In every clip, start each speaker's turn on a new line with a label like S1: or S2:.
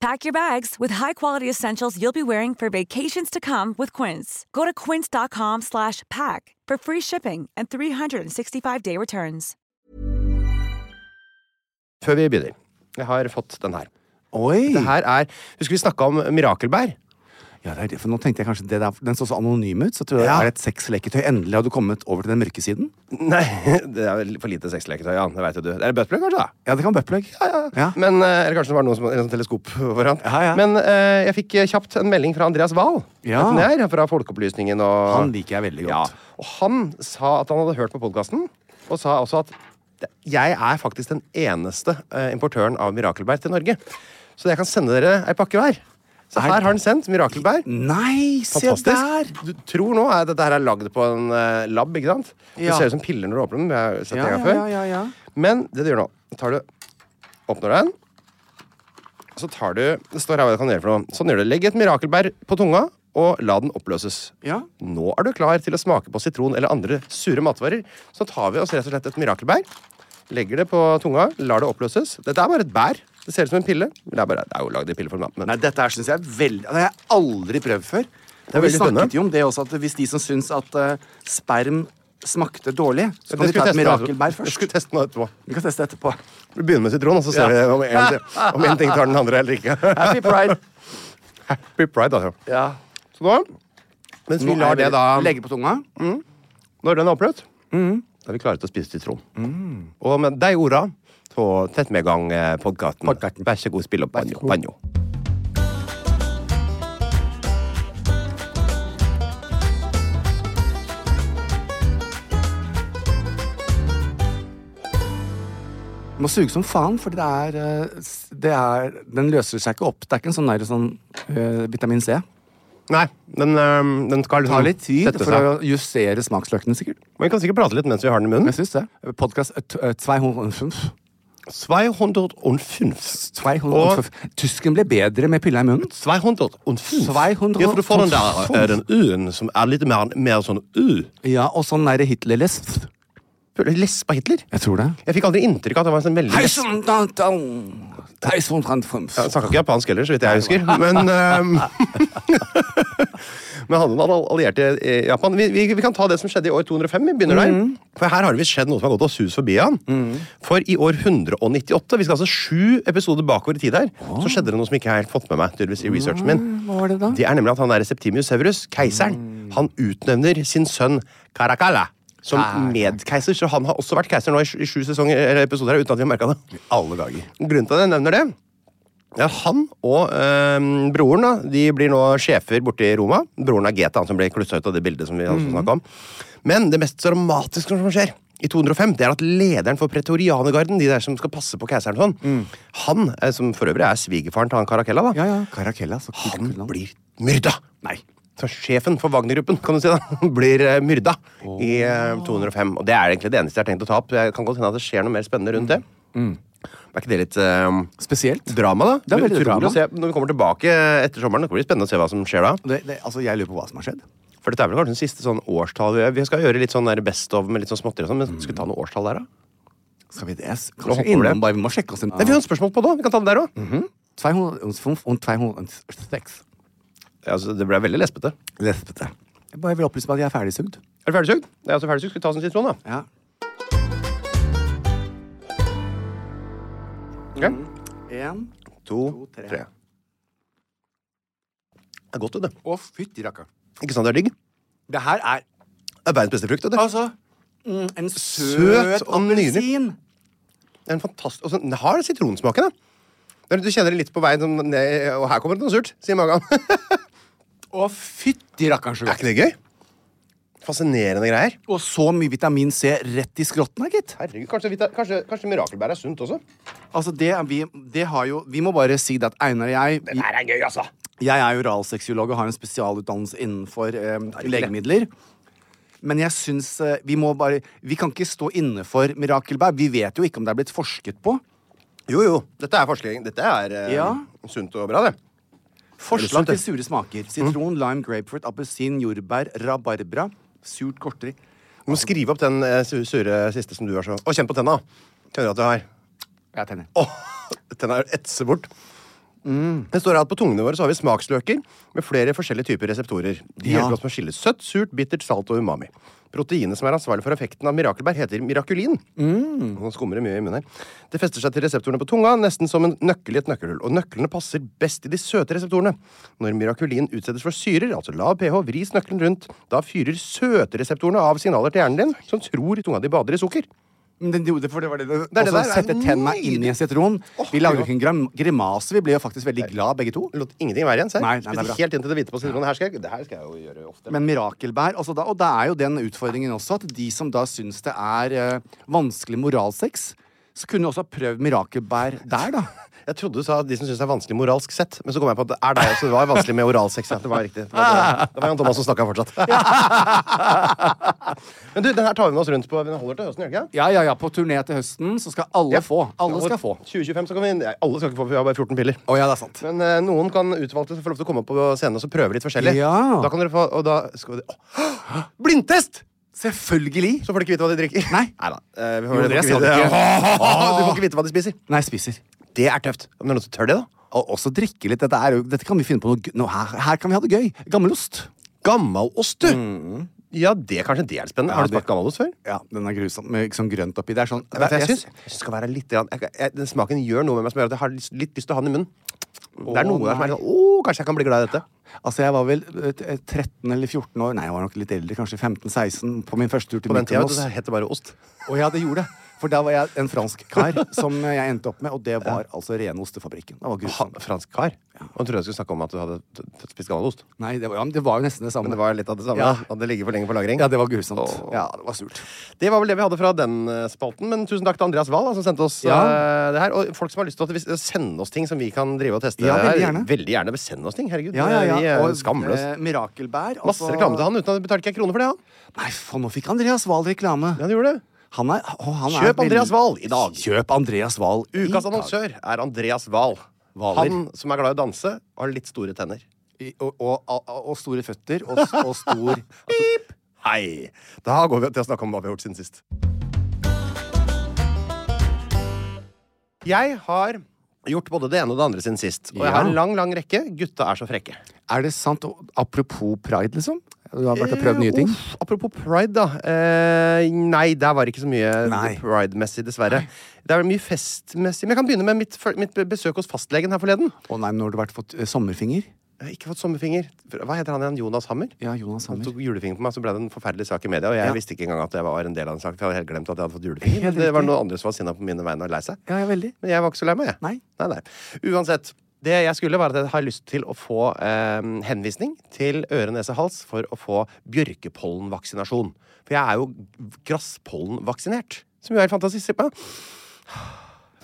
S1: Pack your bags with high-quality essentials you'll be wearing for vacations to come with Quince. Go to quince.com/pack slash pack for free shipping and 365-day returns.
S2: Før vi begynner, jeg har fått den her.
S3: Oi!
S2: Det her er, Husker vi snakka om mirakelbær?
S3: Ja, det er det, for nå tenkte jeg kanskje det der, Den så så anonym ut, så jeg tror
S2: Ja.
S3: det er et sexleketøy. Endelig har du kommet over til den mørke siden.
S2: Nei, det er vel for lite sexleketøy. Ja, det vet jo du. Det er buttplug, kanskje? da?
S3: Ja, det kan buttplug. Ja.
S2: Men, eh, eller kanskje det var noen som, eller sånn teleskop foran.
S3: Ja, ja.
S2: Men eh, jeg fikk eh, kjapt en melding fra Andreas Wahl.
S3: Ja.
S2: vet du hvem det er? Fra Folkeopplysningen. Og,
S3: Han liker jeg veldig godt.
S2: Ja. Og han sa at han hadde hørt på podkasten, og sa også at det- jeg er faktisk den eneste eh, importøren av mirakelbær til Norge. Så jeg kan sende dere ei pakke hver. Så
S3: Er-
S2: her har han sendt mirakelbær.
S3: Nei, se der!
S2: Fantastisk. Du tror nå at dette her er lagd på en eh, lab, ikke sant?
S3: Ja.
S2: Det ser ut som piller når du åpner dem. Jeg har sett det
S3: Ja,
S2: en gang
S3: ja,
S2: før.
S3: ja, ja, ja.
S2: Men det du gjør nå, tar du Åpner den. Så tar du Det står her hva du kan gjøre for noe. Sånn gjør du. Legg et mirakelbær på tunga, og la den oppløses.
S3: Ja.
S2: Nå er du klar til å smake på sitron eller andre sure matvarer. Så tar vi oss rett og slett et mirakelbær, legger det på tunga, lar det oppløses. Dette er bare et bær. Det ser ut som en pille. Det er, bare, det er jo lagd i pilleform, da. Men
S3: Nei, dette her synes jeg er veldig Det har jeg aldri prøvd før.
S2: er
S3: Og vi
S2: veldig spennende.
S3: snakket jo om det også, at hvis de som syns at eh, sperm smakte dårlig, så kan
S2: Det
S3: de ta
S2: skulle jeg
S3: et
S2: teste etterpå.
S3: mirakelbær
S2: Jeg
S3: først.
S2: skulle teste noe etterpå.
S3: Vi kan teste etterpå.
S2: Vi begynner med sitron, og så ser vi om en, om en ting tar den andre eller ikke.
S3: Happy pride.
S2: Happy pride, altså.
S3: Ja.
S2: Så nå, mens vi
S3: Nå
S2: lar
S3: er
S2: det da
S3: Legge på tunga.
S2: Når den er oppløst,
S3: Mm.
S2: da er vi klare til å spise sitron. Og med de orda så setter vi i gang podkasten. Vær så god, spill opp banjo. banjo.
S3: Må suge som faen, fordi det er, eh, s- det er Den løser seg ikke opp. Det er ikke en sånn, der, sånn eh, vitamin C.
S2: Nei, den, øhm, den skal
S3: Det
S2: liksom
S3: tar litt tid
S2: sette
S3: for
S2: seg.
S3: å justere smaksløkene, sikkert.
S2: Men vi kan sikkert prate litt mens vi har den i munnen.
S3: Jeg syns det. Podkast 205.
S2: 205.
S3: 205. Tysken ble bedre med pilla i munnen.
S2: 205.
S3: 205.
S2: Ja, for du får den der, eh, den U-en, som er litt mer, mer sånn U.
S3: Ja, og sånn derre Hitler-lesp.
S2: Lespa Hitler?
S3: Jeg tror det.
S2: Jeg fikk aldri inntrykk av at han var en sånn veldig
S3: Hei, sånn, da, da. Hei, sånn, da, da.
S2: Han snakka ikke japansk heller, så vidt jeg husker. Men, ehm, men hadde noen all- allierte i i Japan. Vi, vi, vi kan ta det som skjedde i år 205. Vi begynner der. For her har det visst skjedd noe som har gått oss hus forbi. han. For i år 198, vi skal altså sju episoder bakover i tid her, så skjedde det noe som ikke jeg har helt fått med meg tydeligvis i researchen min.
S3: Hva var det da?
S2: Det er nemlig at han der Septimius Severus,
S3: Mm.
S2: keiseren, han utnevner sin sønn Caracalla. Som
S3: Ah,
S2: medkeiser, så han har også vært keiser nå i sju- i sju sesonger, eller episoder her, uten at vi har merka det.
S3: Alle dager.
S2: Grunnen til at jeg nevner det, er at han og øhm, broren da, de blir nå sjefer borte i Roma. Broren er Geta, han som ble klussa ut av det bildet som vi også
S3: Mm.
S2: snakket om. Men det mest dramatiske som skjer i 205, det er at lederen for pretorianergarden, de der som skal passe på keiseren og sånn, han, eh, som for øvrig er svigerfaren til han Caracalla, da,
S3: Mm. Ja, ja. Caracalla. altså. Så kult
S2: han
S3: navn.
S2: blir myrda!
S3: Nei.
S2: Så sjefen for Wagner-gruppen kan du si da, blir eh, myrda i eh, 205. Og det er egentlig det eneste jeg har tenkt å ta opp. Jeg kan godt hende at det skjer noe mer spennende rundt det. Er ikke det litt eh,
S3: Spesielt.
S2: drama, da.
S3: Mm. Det er veldig
S2: Utrolig
S3: drama.
S2: Å se, når vi kommer tilbake etter sommeren, det blir det spennende å se hva som skjer da.
S3: Det, det, altså, jeg lurer på hva som har skjedd.
S2: For dette er vel kanskje den siste sånn årstall vi gjør. Vi skal gjøre litt sånn der best of med litt sånn småtteri og sånn, men skal
S3: Mm.
S2: vi ta noe årstall der, da?
S3: Skal vi det?
S2: hopper
S3: Kanskje
S2: vi det.
S3: innom bare, vi må sjekke oss inn.
S2: Nei, vi har et spørsmål på det òg. Vi kan ta det der òg.
S3: Mm. 205 og 206.
S2: altså, det ble veldig lespete. Er
S3: Lespete. Jeg bare vil opplyse om at jeg er ferdigsugd.
S2: du ferdigsugd? Jeg er også ferdigsugd. Skal vi ta oss en sitron, da?
S3: Ja.
S2: Ok?
S3: En.
S2: To,
S3: tre.
S2: tre. Det er godt, det.
S3: Å, fytti rakka.
S2: Ikke sant det er digg?
S3: Det her er
S2: Det er verdens beste frukt. Det.
S3: altså mm, en søt,
S2: og
S3: appelsin.
S2: Det er en fantastisk... Og så den har sitronsmaken, da. Når Du kjenner det litt på veien, sånn, ned, og her kommer det noe surt, sier magen. er
S3: Å, fytti rakker'n så godt.
S2: ikke det gøy? Fascinerende greier.
S3: Og så mye vitamin C rett i skrotten, da, gitt.
S2: Herregud, Kanskje, vita- kanskje, kanskje mirakelbær er sunt også?
S3: Altså, det, er vi, det har jo Vi må bare si det at Einar og jeg vi,
S2: er gøy, altså!
S3: Jeg er jo oralseksiolog og har en spesialutdannelse innenfor eh, legemidler. Men jeg syns eh, vi må bare Vi kan ikke stå inne for mirakelbær. Vi vet jo ikke om det er blitt forsket på.
S2: Jo, jo. Dette er forskning. Dette er eh,
S3: Ja.
S2: sunt og bra, det.
S3: Forslag
S2: Det er
S3: til sure smaker. Sitron, lime, grapefruit, appelsin, jordbær, rabarbra. Surt korteri.
S2: Du må skrive opp den eh, su- sure siste som du har så Og kjenn på tenna. Kjenner du at du har
S3: Jeg tenner.
S2: Åh, Tenna er etse bort. Det står her at På tungene våre så har vi smaksløker med flere forskjellige typer reseptorer. De
S3: Ja.
S2: hjelper oss med å skille søtt, surt, bittert, salt og umami. Proteinet som er ansvarlig for effekten av mirakelbær, heter mirakulin. Nå skummer det mye i munnen her. Det fester seg til reseptorene på tunga, nesten som en nøkkel i et nøkkelhull. Og nøklene passer best i de søte reseptorene. Når mirakulin utsettes for syrer, altså lav pH, vris nøkkelen rundt. Da fyrer søte reseptorene av signaler til hjernen din, som tror tunga di bader i sukker.
S3: Men den gjorde det, for det var det det,
S2: Det er det
S3: også
S2: der,
S3: sette
S2: det er
S3: tenna
S2: nydelig.
S3: inn i en sitron.
S2: Åh,
S3: vi lagde jo
S2: ja.
S3: ikke en gram- grimase. Vi ble jo faktisk veldig glad begge to.
S2: Det lot ingenting være igjen. ser jeg.
S3: Nei, nei, det er
S2: Spiste
S3: bra.
S2: helt inn til det hvite på sitronen. Her skal jeg, det her skal jeg jo gjøre ofte.
S3: Men mirakelbær altså da, Og det er jo den utfordringen også, at de som da syns det er eh, vanskelig moralsex, så kunne også ha prøvd mirakelbær der, da.
S2: jeg trodde du sa de som syns det er vanskelig moralsk sett, men så kom jeg på at det er deg også. Det var vanskelig med oralsex. Ja. Det var riktig. Det var, det var Jan Thomas som snakka fortsatt. men du, den her tar vi med oss rundt på. Den holder til høsten, gjør den ikke? det?
S3: Ja, ja, ja. På turné til høsten så skal alle få. Alle skal få.
S2: 2025 så kan vi inn. Nei, Alle skal ikke få, for vi har bare 14 piller.
S3: Å ja, det er sant.
S2: Men eh, noen kan utvalgte få lov til å komme opp på scenen og så prøve litt forskjellig.
S3: Ja.
S2: Da kan dere få, og da skal vi, Åh! Blindtest!
S3: Selvfølgelig.
S2: Så får de ikke vite hva de drikker.
S3: Nei.
S2: Neida. Eh, vi
S3: Jo,
S2: får,
S3: det
S2: du,
S3: skal
S2: får ikke
S3: de ikke.
S2: vite. du får ikke vite hva de spiser.
S3: Nei, spiser.
S2: Det er tøft. Om det er noen som tør det, da?
S3: Og også drikke litt. Dette, er jo, dette kan vi finne på noe gøy. nå, her, her kan vi ha det gøy. Gammelost.
S2: Gammelost, du! Ja, det kanskje Mm. det er spennende.
S3: Ja,
S2: Har du
S3: det-
S2: smakt gammelost før?
S3: Ja, den er grusom. Med liksom grønt oppi. Det er sånn
S2: Vet du hva jeg
S3: jeg-
S2: syns? Jeg syns det skal være litt grann- jeg, kan- jeg, Den smaken gjør noe med meg som gjør at jeg har lyst- litt lyst til å ha den i munnen. Det er
S3: Å,
S2: noe der som er
S3: nei.
S2: sånn Å, kanskje jeg kan bli glad i dette.
S3: Altså, jeg var vel eh, t- eh, 13 eller 14 år. Nei, jeg var nok litt eldre. Kanskje 15-16 på min første tur til
S2: På den tida vet du,
S3: Mykonos.
S2: så het det bare ost.
S3: Og ja, det gjorde det. For da var jeg en fransk kar som jeg endte opp med, og det var altså rene ostefabrikken. Det var
S2: Ha,
S3: grusomt.
S2: fransk kar. Og trodde jeg skulle snakke om at du hadde t- t- spist gammelost.
S3: Nei, det var, ja, men det var jo nesten det samme.
S2: Men det var litt av det samme.
S3: Ja.
S2: At det ligger for lenge på lagring.
S3: Ja, det var grusomt.
S2: Åh.
S3: Ja, det var surt.
S2: Det var vel det vi hadde fra den eh, spalten. Men tusen takk til Andreas Wahl, da, som sendte oss
S3: Ja.
S2: eh, det her. Og folk som har lyst til at vi s- sende oss ting som vi kan drive og teste.
S3: Ja, veldig
S2: her.
S3: gjerne.
S2: veldig gjerne. Send oss ting. Herregud.
S3: Ja, ja, ja.
S2: Vi er
S3: Og,
S2: skamløse.
S3: eh, mirakelbær.
S2: Masse reklame til han uten at vi betalte ikke en krone for det. han.
S3: Nei, faen, nå fikk Andreas Wahl reklame.
S2: Ja, det gjorde det.
S3: Han er, å, han er
S2: Kjøp Andreas Wahl i dag.
S3: Kjøp Andreas Wahl i
S2: Ukas
S3: dag.
S2: annonsør er Andreas Wahl.
S3: Hvaler.
S2: Han som er glad i å danse, har litt store tenner.
S3: I- Og, og, og, og store føtter. Og, s- og stor
S2: Hei! Da går vi til å snakke om hva vi har gjort siden sist. Jeg har gjort både det ene og det andre siden sist. Og jeg har en
S3: Ja.
S2: lang, lang rekke. Gutta er så frekke.
S3: Er det sant? Og Apropos pride, liksom? Du har vært og prøvd nye ting?
S2: Eh, uff, apropos pride, da. Eh, nei, der var det ikke så mye
S3: Nei.
S2: pride-messig, dessverre. Det er mye festmessig. Men jeg kan begynne med mitt, fø- mitt besøk hos fastlegen her forleden.
S3: Å nei, nå har du vært fått eh, sommerfinger?
S2: Jeg har ikke fått sommerfinger. Hva heter han igjen? Jonas Hammer?
S3: Ja, Jonas
S2: Han
S3: Hammer.
S2: tok julefinger på meg, så ble det en forferdelig sak i media. Og jeg
S3: Ja.
S2: visste ikke engang at jeg var en del av den saken. for Jeg hadde helt glemt at jeg hadde fått julefinger. Men
S3: Helt
S2: det var
S3: riktig.
S2: noen andre som var sinna på mine vegne og lei seg.
S3: Ja, ja, veldig.
S2: Men jeg var ikke så lei meg, jeg.
S3: Nei.
S2: Nei, nei. Uansett. Det jeg skulle, var at jeg har lyst til å få eh, henvisning til øre, nese, hals for å få bjørkepollenvaksinasjon. For jeg er jo grasspollenvaksinert. Som jo er helt fantastisk. Se på meg.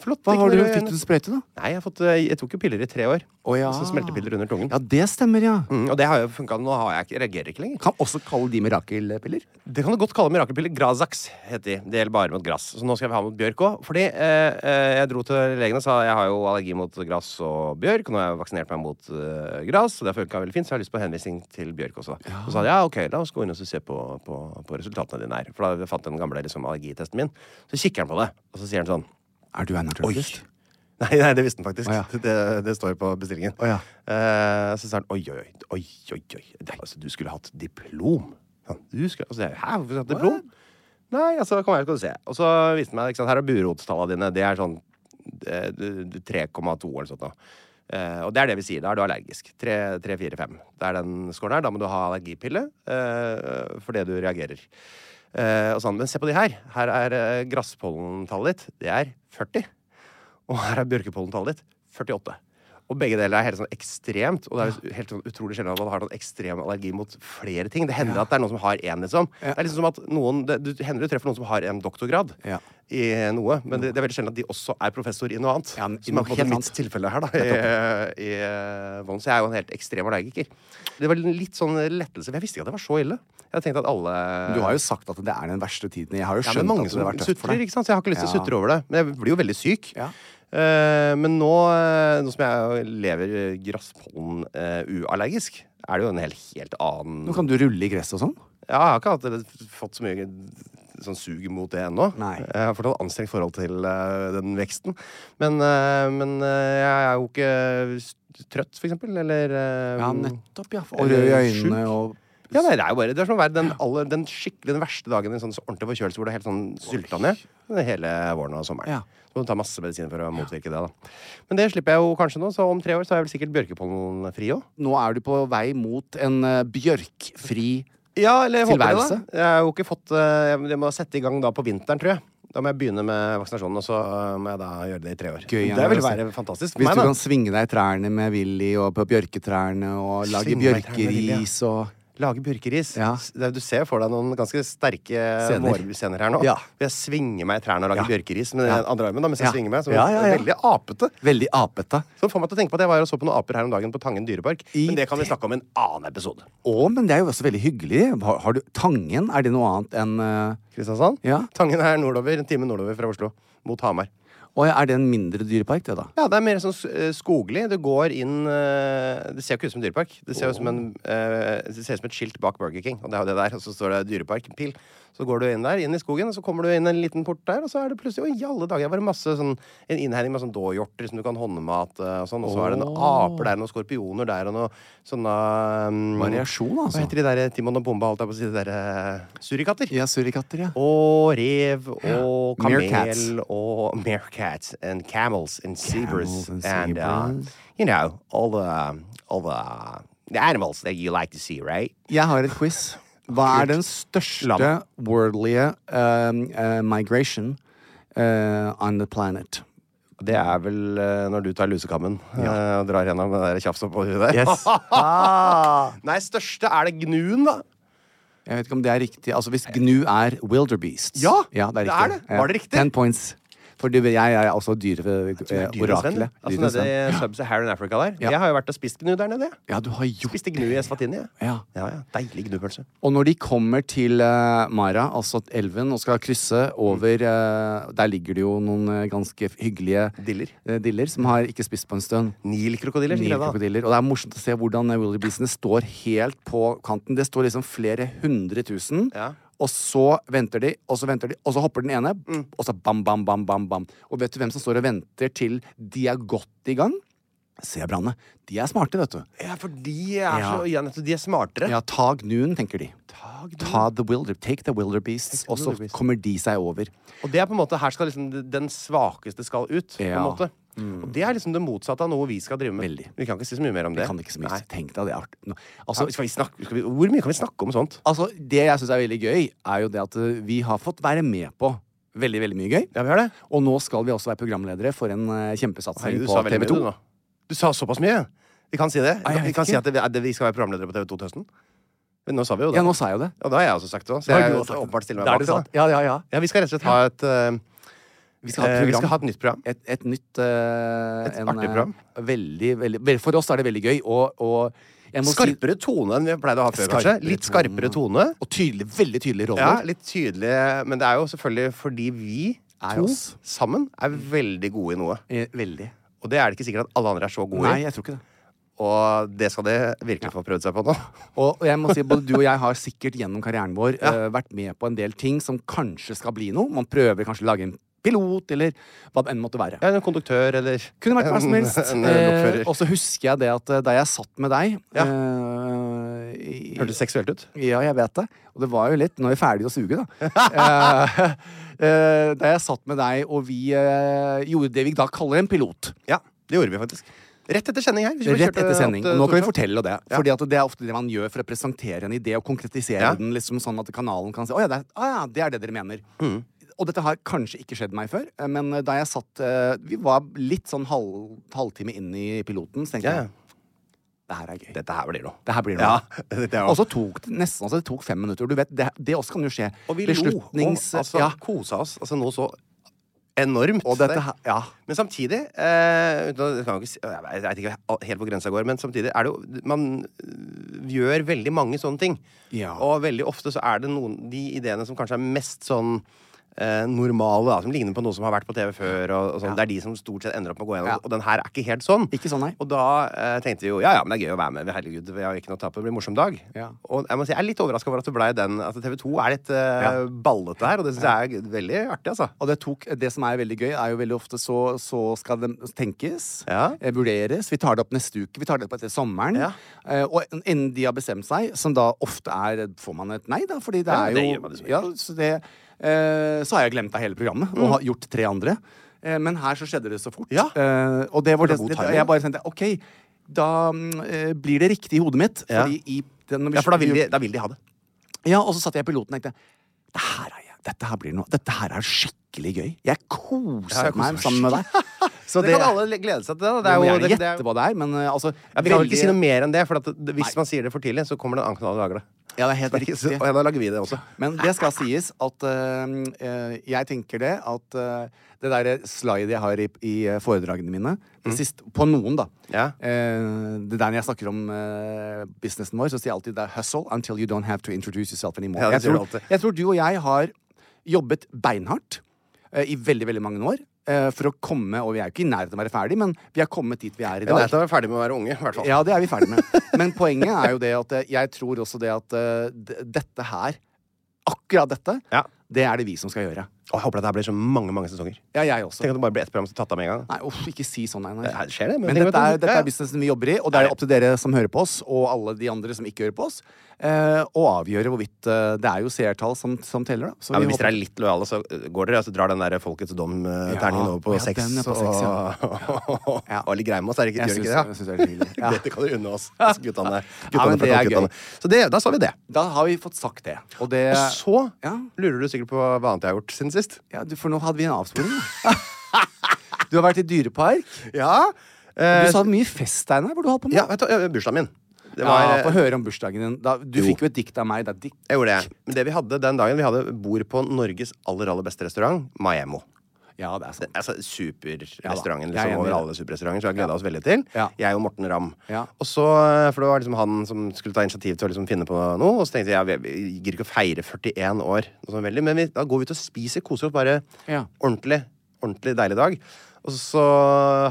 S2: Flott.
S3: Hva
S2: ikke
S3: har du,
S2: noe å gjøre.
S3: Fikk du sprøyte, da?
S2: Nei, jeg, har fått, eh, jeg tok jo piller i tre år.
S3: Å, ja.
S2: Så smeltepiller under tungen.
S3: Ja, det stemmer, ja.
S2: Mm, og det har jo funka. Nå har jeg ikke, jeg reagerer ikke lenger.
S3: Kan også kalle de mirakelpiller.
S2: Det kan du godt kalle mirakelpiller. Grazax heter de. Det gjelder bare mot gress. Så nå skal vi ha mot bjørk òg. Fordi eh, eh, jeg dro til legen og sa jeg har jo allergi mot gress og bjørk. og Nå har jeg vaksinert meg mot eh, gress, og det har funka veldig fint, så jeg har lyst på henvisning til bjørk også. Så sa de ja, ok, la oss gå inn og så se på, på, på resultatene dine her. For da fant jeg den gamle liksom, allergitesten min. Så kikker han på det, og så sier han sånn
S3: Er du anatomist?
S2: Nei, nei, det visste han faktisk.
S3: Å, ja.
S2: det, det står på bestillingen.
S3: Å, ja.
S2: Eh, så sa han oi, oi, oi. oi, oi, oi. Det, altså, du skulle hatt diplom. Ja, Du skulle, altså, jeg, Hæ, hvorfor skulle jeg hatt diplom? Nei, altså, kom her, skal du se. Og så viste han meg ikke sant, her er burotstallene dine. Det er sånn eh, du- du- 3,2 eller sånt. nå. Eh, og det er det vi sier. Da er du allergisk. 3, 3 4, 5. Det er den scoren her. Da må du ha allergipille eh, fordi du reagerer. Eh, og sånn, Men se på de her. Her er eh, grasspollentallet ditt. Det er 40. Og her er bjørkepollentallet ditt 48. Og begge deler er helt sånn ekstremt. Og det er jo helt sånn utrolig sjelden at man har sånn ekstrem allergi mot flere ting. Det hender at det er noen som har én, liksom. Det er liksom som at noen, det, du hender du treffer noen som har en doktorgrad
S3: Ja.
S2: i noe, men det, det er veldig sjelden at de også er professor i noe annet.
S3: Ja, men i
S2: som
S3: noe
S2: er på
S3: helt
S2: helt mitt
S3: annet.
S2: tilfelle her, da. I, i, eh, Vonn. så jeg er jo en helt ekstrem allergiker. Det var litt sånn lettelse, for jeg visste ikke at det var så ille. Jeg tenkte at alle
S3: Du har jo sagt at det er den verste tiden. Jeg har jo
S2: ja,
S3: skjønt
S2: men mange
S3: at det har vært
S2: som
S3: tøft for
S2: sutrer,
S3: deg.
S2: ikke sant? så jeg har ikke lyst til å
S3: Ja.
S2: sutre over det. Men jeg blir jo veldig syk.
S3: Ja.
S2: Eh, men nå, eh, nå som jeg lever eh, grasspollen eh, uallergisk, er det jo en helt, helt annen
S3: Nå kan du rulle i gresset og sånn.
S2: Ja, jeg har ikke hatt eller, fått så mye sånn sug mot det ennå.
S3: Nei.
S2: Jeg har fortsatt anstrengt forhold til eh, den veksten. Men, eh, men eh, jeg er jo ikke s- trøtt, for eksempel. Eller eh,
S3: Ja, nettopp, ja. Og
S2: Eller
S3: rød i
S2: sjuk.
S3: øynene og
S2: ja, nei, det er jo bare Det er som å være den, aller, den skikkelig den verste dagen i en sånn ordentlig forkjølelse hvor du er helt sånn sylta ned det er hele våren og sommeren.
S3: Ja.
S2: Så må du ta masse medisiner for å motvirke det. da Men det slipper jeg jo kanskje nå, så om tre år så er jeg vel sikkert bjørkepollenfri òg.
S3: Nå er du på vei mot en eh, bjørkfri
S2: Ja, eller jeg håper
S3: Tilværelse?
S2: det. da Jeg har jo ikke fått eh, Jeg må sette i gang da på vinteren, tror jeg. Da må jeg begynne med vaksinasjonen, og så eh, må jeg da gjøre det i tre år.
S3: Gøy,
S2: det
S3: gjerne
S2: vil
S3: å se.
S2: være fantastisk. for
S3: Hvis
S2: meg,
S3: du
S2: da.
S3: kan svinge deg i trærne med Willy og på bjørketrærne og lage
S2: Svinge meg i trærne med Willy, ja.
S3: bjørkeris og
S2: Lage bjørkeris.
S3: Ja.
S2: S- det- Du ser for deg noen ganske sterke
S3: Scener.
S2: vårscener her nå.
S3: Ja.
S2: Jeg svinger meg i trærne og lager
S3: Ja.
S2: bjørkeris med
S3: Ja.
S2: den andre armen. da, mens jeg
S3: Ja.
S2: svinger meg. Så
S3: Ja, ja, ja.
S2: Veldig apete.
S3: Veldig apete.
S2: Så får meg til å tenke på at jeg var og så på noen aper her om dagen på Tangen dyrepark.
S3: I
S2: Men det kan vi
S3: det-
S2: snakke om i en annen episode.
S3: Å, men det er jo også veldig hyggelig. Har, har du Tangen, er det noe annet enn eh,
S2: Kristiansand?
S3: Ja.
S2: Tangen er nordover, en time nordover fra Oslo. Mot Hamar.
S3: Å ja, er det en mindre dyrepark, det, da?
S2: Ja, det er mer sånn eh, skoglig. Du går inn eh, Det ser jo ikke ut som en dyrepark. Det ser jo som en eh, Det ser ut som et skilt bak Burger King, og det er jo det der. Og så står det dyrepark, en pil. Så går du inn der, inn i skogen, og så kommer du inn en liten port der, og så er det plutselig Oi, i alle dager! Var det masse sånn En innhegning med sånn dåhjorter som du kan håndmate eh, og sånn, og så er det noen aper der, noen skorpioner der, og noen sånne mm,
S3: Variasjon,
S2: Hva
S3: altså.
S2: heter de der Timon og Pumba, holdt jeg på å si, de der eh, surikatter?
S3: Ja, surikatter, ja.
S2: Og rev og kamel
S3: Meerkats.
S2: og meerkats and camels and zebras
S3: Camels and
S2: and, uh,
S3: zebras.
S2: you know all the all the, the animals that you like to see, right?
S3: Jeg har et quiz. Hva er den største
S2: Lam.
S3: worldlige um, uh, migration uh, on the planet?
S2: Det er vel eh, når du tar lusekammen eh, og drar gjennom det der tjafset på huet der.
S3: Yes.
S2: Nei, største er det gnuen, da.
S3: Jeg vet ikke om det er riktig. Altså Hvis gnu er wilderbeasts
S2: Ja,
S3: det er
S2: det
S3: riktig.
S2: er det.
S3: Ja.
S2: Var det riktig?
S3: Ten points. For du, jeg er altså også
S2: Dyrenes venn,
S3: dyreoraklet.
S2: ja. Altså nede i Sub-Saharan Africa der.
S3: Ja.
S2: Jeg har jo vært og spist gnu der nede. jeg.
S3: Ja, du har gjort
S2: Spiste gnu i Eswatini. jeg.
S3: Ja.
S2: Ja, ja. Deilig gnupølse.
S3: Og når de kommer til eh, Mara, altså elven, og skal krysse over eh, Der ligger det jo noen eh, ganske hyggelige
S2: Diller.
S3: eh, diller som har ikke spist på en stund.
S2: Nilkrokodiller. som grev, da.
S3: Nilkrokodiller. Og det er morsomt å se hvordan eh, wildebeestene står helt på kanten. Det står liksom flere hundre tusen.
S2: Ja.
S3: Og så venter de, og så venter de, og så hopper den ene. Og så bam, bam, bam, bam, bam. Og vet du hvem som står og venter til de er godt i gang? Sebraene. De er smarte, vet du.
S2: Ja, for de er,
S3: Ja.
S2: Så, ja, nettopp, de er smartere.
S3: Ja, ta gnuen, tenker de.
S2: Ta gnuen.
S3: Ta the wilder, take the wilder beasts,
S2: Take the
S3: og så
S2: wilder beasts.
S3: kommer de seg over.
S2: Og det er på en måte, her skal liksom d- den svakeste skal ut. på en
S3: Ja. Mm.
S2: måte. Og det er liksom det motsatte av noe vi skal drive med.
S3: Veldig.
S2: Vi kan ikke si så mye mer om det.
S3: Kan ikke så mye
S2: Nei.
S3: tenke deg det. er art- Nå,
S2: Altså,
S3: Altså,
S2: skal vi snakke, skal vi, hvor mye kan vi snakke om sånt?
S3: altså, det jeg syns er veldig gøy, er jo det at eh, vi har fått være med på veldig, veldig mye gøy.
S2: Ja, vi har det.
S3: Og nå skal vi også være programledere for en eh, kjempesatsing
S2: Herregud, du
S3: på
S2: sa veldig
S3: TV
S2: mye, du
S3: 2.
S2: nå. Du sa såpass mye. Vi kan si det.
S3: Nei, jeg
S2: Vi
S3: vet
S2: kan si
S3: ikke.
S2: at, det, at det- vi skal være programledere på TV 2 til høsten. Men nå sa vi jo det.
S3: Ja, nå sa jeg jo det.
S2: Og da har jeg også sagt det. også, Så
S3: Da har
S2: jeg
S3: du også sagt det.
S2: åpenbart stiller meg
S3: Da er
S2: bak
S3: det
S2: det. da.
S3: sant. Ja, ja, ja.
S2: Ja, vi skal rett og slett ha et eh,
S3: Vi skal ha
S2: Eh,
S3: et
S2: vi
S3: program.
S2: skal ha et nytt program.
S3: Et, et nytt eh,
S2: Et
S3: en,
S2: artig
S3: eh,
S2: program.
S3: Veldig, veldig vel, For oss er det veldig gøy, og, og jeg må
S2: Skarpere tone enn vi pleide å ha før, kanskje.
S3: Skarpere
S2: Litt skarpere tone.
S3: Si, og tydelig, veldig tydelige
S2: Ja,
S3: roller.
S2: litt tydelig. Men det er jo selvfølgelig fordi vi
S3: Er
S2: to
S3: oss.
S2: sammen er veldig gode i noe.
S3: Eh, veldig.
S2: Og det er det ikke sikkert at alle andre er så gode
S3: Nei,
S2: i.
S3: jeg tror ikke det.
S2: Og det skal de virkelig få prøvd seg på nå.
S3: Og og jeg må si, både du og jeg har sikkert gjennom karrieren vår eh, vært med på en del ting som kanskje skal bli noe. Man prøver kanskje å lage en pilot, eller hva det enn måtte være.
S2: Ja, en konduktør eller
S3: Kunne vært hva som
S2: en-
S3: helst.
S2: En,
S3: Eh,
S2: lokfører.
S3: og så husker jeg det at eh, da jeg satt med deg
S2: Ja.
S3: eh, i-
S2: Hørtes seksuelt ut.
S3: Ja, jeg vet det. Og det var jo litt Nå er vi ferdige å suge, da. Eh, eh, da jeg satt med deg, og vi eh, gjorde det vi da kaller en pilot.
S2: Ja, det gjorde vi faktisk. Rett etter sending her. hvis vi
S3: Rett
S2: kjørte
S3: etter sending.
S2: opp til
S3: Nå kan vi
S2: Torshov.
S3: fortelle det.
S2: Ja.
S3: Fordi at det er ofte det man gjør for å presentere en idé og konkretisere
S2: Ja.
S3: den. liksom Sånn at kanalen kan si Å ja, det er, å, ja, det, er det dere mener.
S2: Mm.
S3: Og dette har kanskje ikke skjedd meg før, eh, men eh, da jeg satt eh, Vi var litt sånn halv, halvtime inn i piloten, så tenkte
S2: Ja, ja.
S3: jeg det her er gøy.
S2: Dette her blir noe.
S3: Det her blir noe.
S2: Ja, det er jo-
S3: Og så tok det nesten altså, det tok fem minutter. Du vet, det, det også kan jo skje.
S2: Og vi lo og
S3: Beslutnings...
S2: altså,
S3: ja.
S2: kosa oss altså, noe så enormt.
S3: Og dette her Ja.
S2: Men samtidig eh, uten å- jeg, kan jo ikke, si- jeg vet- jeg vet ikke helt hvor grensa går, men samtidig er det jo Man øh, gjør veldig mange sånne ting.
S3: Ja.
S2: Og veldig ofte så er det noen de ideene som kanskje er mest sånn eh, normale, da, som ligner på noe som har vært på TV før. Og, og sånn. Det er de som stort sett ender opp med å gå gjennom.
S3: Ja.
S2: Og den her er ikke helt sånn.
S3: Ikke sånn, nei.
S2: Og da eh, tenkte vi jo ja, ja, men det er gøy å være med. Herregud, vi har jo ikke noe å tape. Det blir en morsom dag.
S3: Ja.
S2: Og jeg må si, jeg er litt overraska over at det blei den. Altså, TV 2 er litt eh,
S3: Ja.
S2: ballete her, og det syns jeg er veldig artig, altså.
S3: Og det, tok, det som er veldig gøy, er jo veldig ofte så, så skal det tenkes,
S2: Ja.
S3: eh, vurderes. Vi tar det opp neste uke, vi tar det opp etter sommeren.
S2: Ja.
S3: Eh, og en- innen de har bestemt seg, som da ofte er Får man et nei, da? Fordi det
S2: Ja,
S3: er
S2: det
S3: jo
S2: gjør man dessverre. Mm.
S3: ja, så, det, eh, så har jeg glemt av hele programmet og har gjort tre andre. Eh, men her så skjedde det så fort.
S2: Ja.
S3: Eh, og det var
S2: Det var
S3: det,
S2: god
S3: det,
S2: timing.
S3: Jeg bare tenkte OK, da mm, eh, blir det riktig i hodet mitt.
S2: Ja.
S3: Fordi i den, når vi-
S2: Ja, for da vil de, da vil de ha det.
S3: ja, og så satt jeg i piloten og tenkte Det her er jeg. Dette her blir noe. Dette her er skikkelig gøy. Jeg
S2: Ja,
S3: koser
S2: jeg koser
S3: meg
S2: meg
S3: sammen med deg. Så
S2: det, kan alle le- glede seg til. Da. Det
S3: Du
S2: er
S3: må
S2: jo,
S3: gjerne
S2: det, det er,
S3: gjette hva det er, men eh, altså
S2: ja, vi kan vel
S3: veldig-
S2: ikke si noe mer enn det, for at det, hvis
S3: Nei.
S2: man sier det for tidlig, så kommer det en annen kanal og lager det.
S3: Ja, det er helt
S2: Det er ikke så-
S3: riktig.
S2: Og ja, da lager vi det også.
S3: Men det skal sies at eh, eh, jeg tenker det at eh, det derre slidet jeg har i, i eh, foredragene mine, det sist, på noen, da
S2: Mm. Ja.
S3: eh, Det der når jeg snakker om eh, businessen vår, så sier jeg alltid det er 'hustle until you don't have to introduce yourself anymore'.
S2: Ja, det
S3: jeg,
S2: sier du
S3: tror,
S2: alltid.
S3: jeg tror du og jeg har jobbet beinhardt eh, i veldig, veldig mange år eh, for å komme Og vi er jo ikke i nærheten av å være ferdig, men vi har kommet dit vi er i
S2: Jeg
S3: dag.
S2: er ferdig med å være unge, i hvert fall.
S3: Ja, det er vi ferdig med. Men poenget er jo det at eh, jeg tror også det at eh, d- dette her, akkurat dette,
S2: Ja.
S3: det er det vi som skal gjøre.
S2: Og jeg håper at det her blir så mange mange sesonger.
S3: Ja, jeg også.
S2: Tenk at det bare blir ett program som er tatt av med en gang.
S3: Nei, uff, ikke si sånn, Einar.
S2: Det her skjer det, men
S3: men
S2: tenk
S3: dette
S2: at
S3: er,
S2: det-
S3: dette
S2: ja, ja.
S3: er businessen vi jobber i, og det er opp til dere som hører på oss, og alle de andre som ikke hører på oss, eh, å avgjøre hvorvidt eh, Det er jo seertall som, som teller, da. Så
S2: Ja, men
S3: vi
S2: hvis dere er litt lojale, så øh, går dere og så drar den der Folkets dom-terningen
S3: Ja.
S2: over på
S3: Ja,
S2: seks.
S3: den er på seks, ja.
S2: og,
S3: Ja.
S2: og litt greie med oss, er det ikke,
S3: Jeg
S2: gjør det
S3: syns-
S2: ikke
S3: jeg
S2: det?
S3: syns det er litt hyggelig. Ja.
S2: Dette kan dere unne oss, oss guttene.
S3: Ja, men
S2: guttene
S3: det
S2: fra
S3: er gøy.
S2: guttene. Så det, da sa vi det.
S3: Da har vi fått sagt det. Og det
S2: Og så
S3: Ja.
S2: lurer du sikkert på hva annet jeg har gjort siden sist.
S3: ja, du, For nå hadde vi en avsporing. da. Du har vært i dyrepark.
S2: Ja, eh,
S3: Du sa mye fest, Einar. Hvor du holdt på med
S2: ja vet du, øh, bursdagen min. Det
S3: ja, Få høre om bursdagen din. Da, du
S2: Jo.
S3: fikk eh, jo et dikt av meg. Det er dikt.
S2: Jeg gjorde det. Men det vi hadde den dagen, vi hadde bord på Norges aller aller beste restaurant, Maemmo.
S3: Ja, det er sant.
S2: Altså Superrestauranten
S3: Ja da.
S2: liksom,
S3: Jeg er enig i
S2: over
S3: det.
S2: alle superrestauranter, så jeg gleda oss veldig til.
S3: Ja.
S2: Jeg og Morten Ramm.
S3: Ja.
S2: Og så, For det var liksom han som skulle ta initiativ til å liksom finne på noe. Og så tenkte jeg jeg gidder ikke å feire 41 år, noe sånt veldig, men vi, da går vi ut og spiser, koser oss. Bare
S3: Ja.
S2: ordentlig ordentlig deilig dag. Og så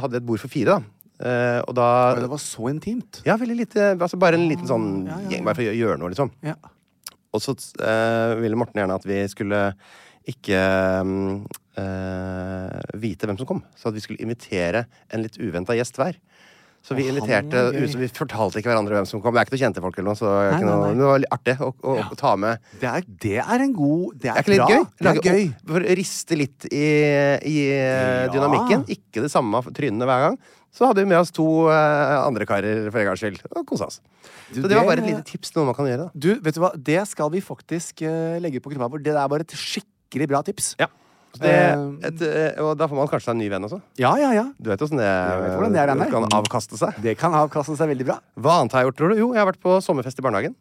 S2: hadde vi et bord for fire, da. Eh, og da
S3: Men det var så intimt.
S2: Ja, veldig lite altså Bare en liten sånn gjeng, bare for å gjøre noe, liksom.
S3: Ja.
S2: Og så eh, ville Morten gjerne at vi skulle ikke mm, eh, vite hvem som kom. Så at vi skulle invitere en litt uventa gjest hver. Så vi inviterte
S3: var gøy.
S2: ut- så Vi fortalte ikke hverandre hvem som kom. Det er ikke noe kjente folk eller noe, så det er
S3: Nei,
S2: ikke
S3: nei,
S2: noe,
S3: nei.
S2: men det var litt artig å, å, å ta med.
S3: Det er, det er en god Det
S2: Er
S3: er,
S2: ikke litt
S3: bra.
S2: gøy?
S3: Det er gøy.
S2: opp- for å riste litt i, i eh,
S3: Ja.
S2: dynamikken. Ikke det samme for trynene hver gang. Så hadde vi med oss to eh, andre karer for en gangs skyld. Og kosa oss.
S3: Du,
S2: så det var
S3: det-
S2: bare et lite tips til noe man kan gjøre. da
S3: Du, vet du hva? Det skal vi faktisk eh, legge på gruppa vår. Det der var et skikkelig bra tips.
S2: Ja. Så det,
S3: Ehm.
S2: et, eh, og da får man kanskje seg en ny venn også.
S3: ja, ja. ja.
S2: Du vet åssen det,
S3: vet hvordan det er, den der.
S2: kan avkaste seg.
S3: Det kan avkaste seg veldig bra.
S2: Hva annet har jeg gjort, tror du? Jo, jeg har vært på sommerfest i barnehagen.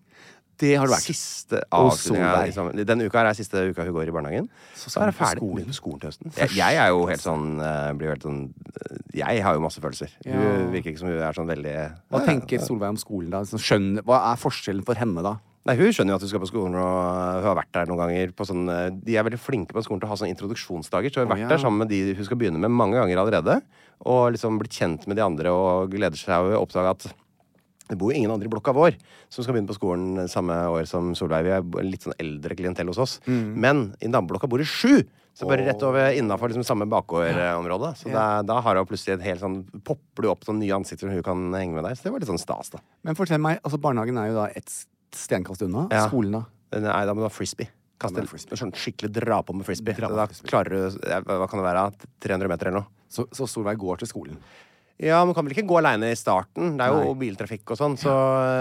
S3: Det har det vært.
S2: Siste
S3: Og
S2: avslutninga.
S3: Solveig.
S2: Liksom. Denne uka her er siste uka hun går i barnehagen. Så,
S3: Så skal
S2: er hun
S3: hun på
S2: ferdig
S3: skolen.
S2: Hun er på skolen til høsten. Jeg, jeg er jo helt sånn, eh, blir jo helt sånn eh, Jeg har jo masse følelser. Hun virker ikke som hun er sånn veldig
S3: Hva tenker Solveig om skolen, da? Sånn, skjønner, hva er forskjellen for henne, da?
S2: Nei, Hun skjønner jo at hun skal på skolen, og eh, hun har vært der noen ganger. På sånn, eh, de er veldig flinke på skolen til å ha sånne introduksjonsdager. Så hun har vært
S3: ja.
S2: der sammen med de hun skal begynne med, mange ganger allerede. Og liksom blitt kjent med de andre og gleder seg og oppdaga at det bor jo ingen andre i blokka vår som skal begynne på skolen samme år som Solveig. Vi er litt sånn eldre klientell hos oss. Men i naboblokka bor det sju! Så bare rett over innafor liksom samme bakgårdområde. Så da, da har hun plutselig et helt sånn popper det opp noen nye ansikter som hun kan henge med der. Så det var litt sånn stas, da.
S3: Men fortell meg, altså barnehagen er jo da et stenkast unna.
S2: Ja.
S3: Skolen, da?
S2: Nei, da må eh, du ha frisbee. Kast en sånn skikkelig dra på med frisbee.
S3: Dra på
S2: da
S3: frisbee.
S2: klarer du ja, Hva kan det være? 300 meter eller noe?
S3: Så, så Solveig går til skolen.
S2: Ja, man kan vel ikke gå aleine i starten. Det er jo biltrafikk og sånn. Så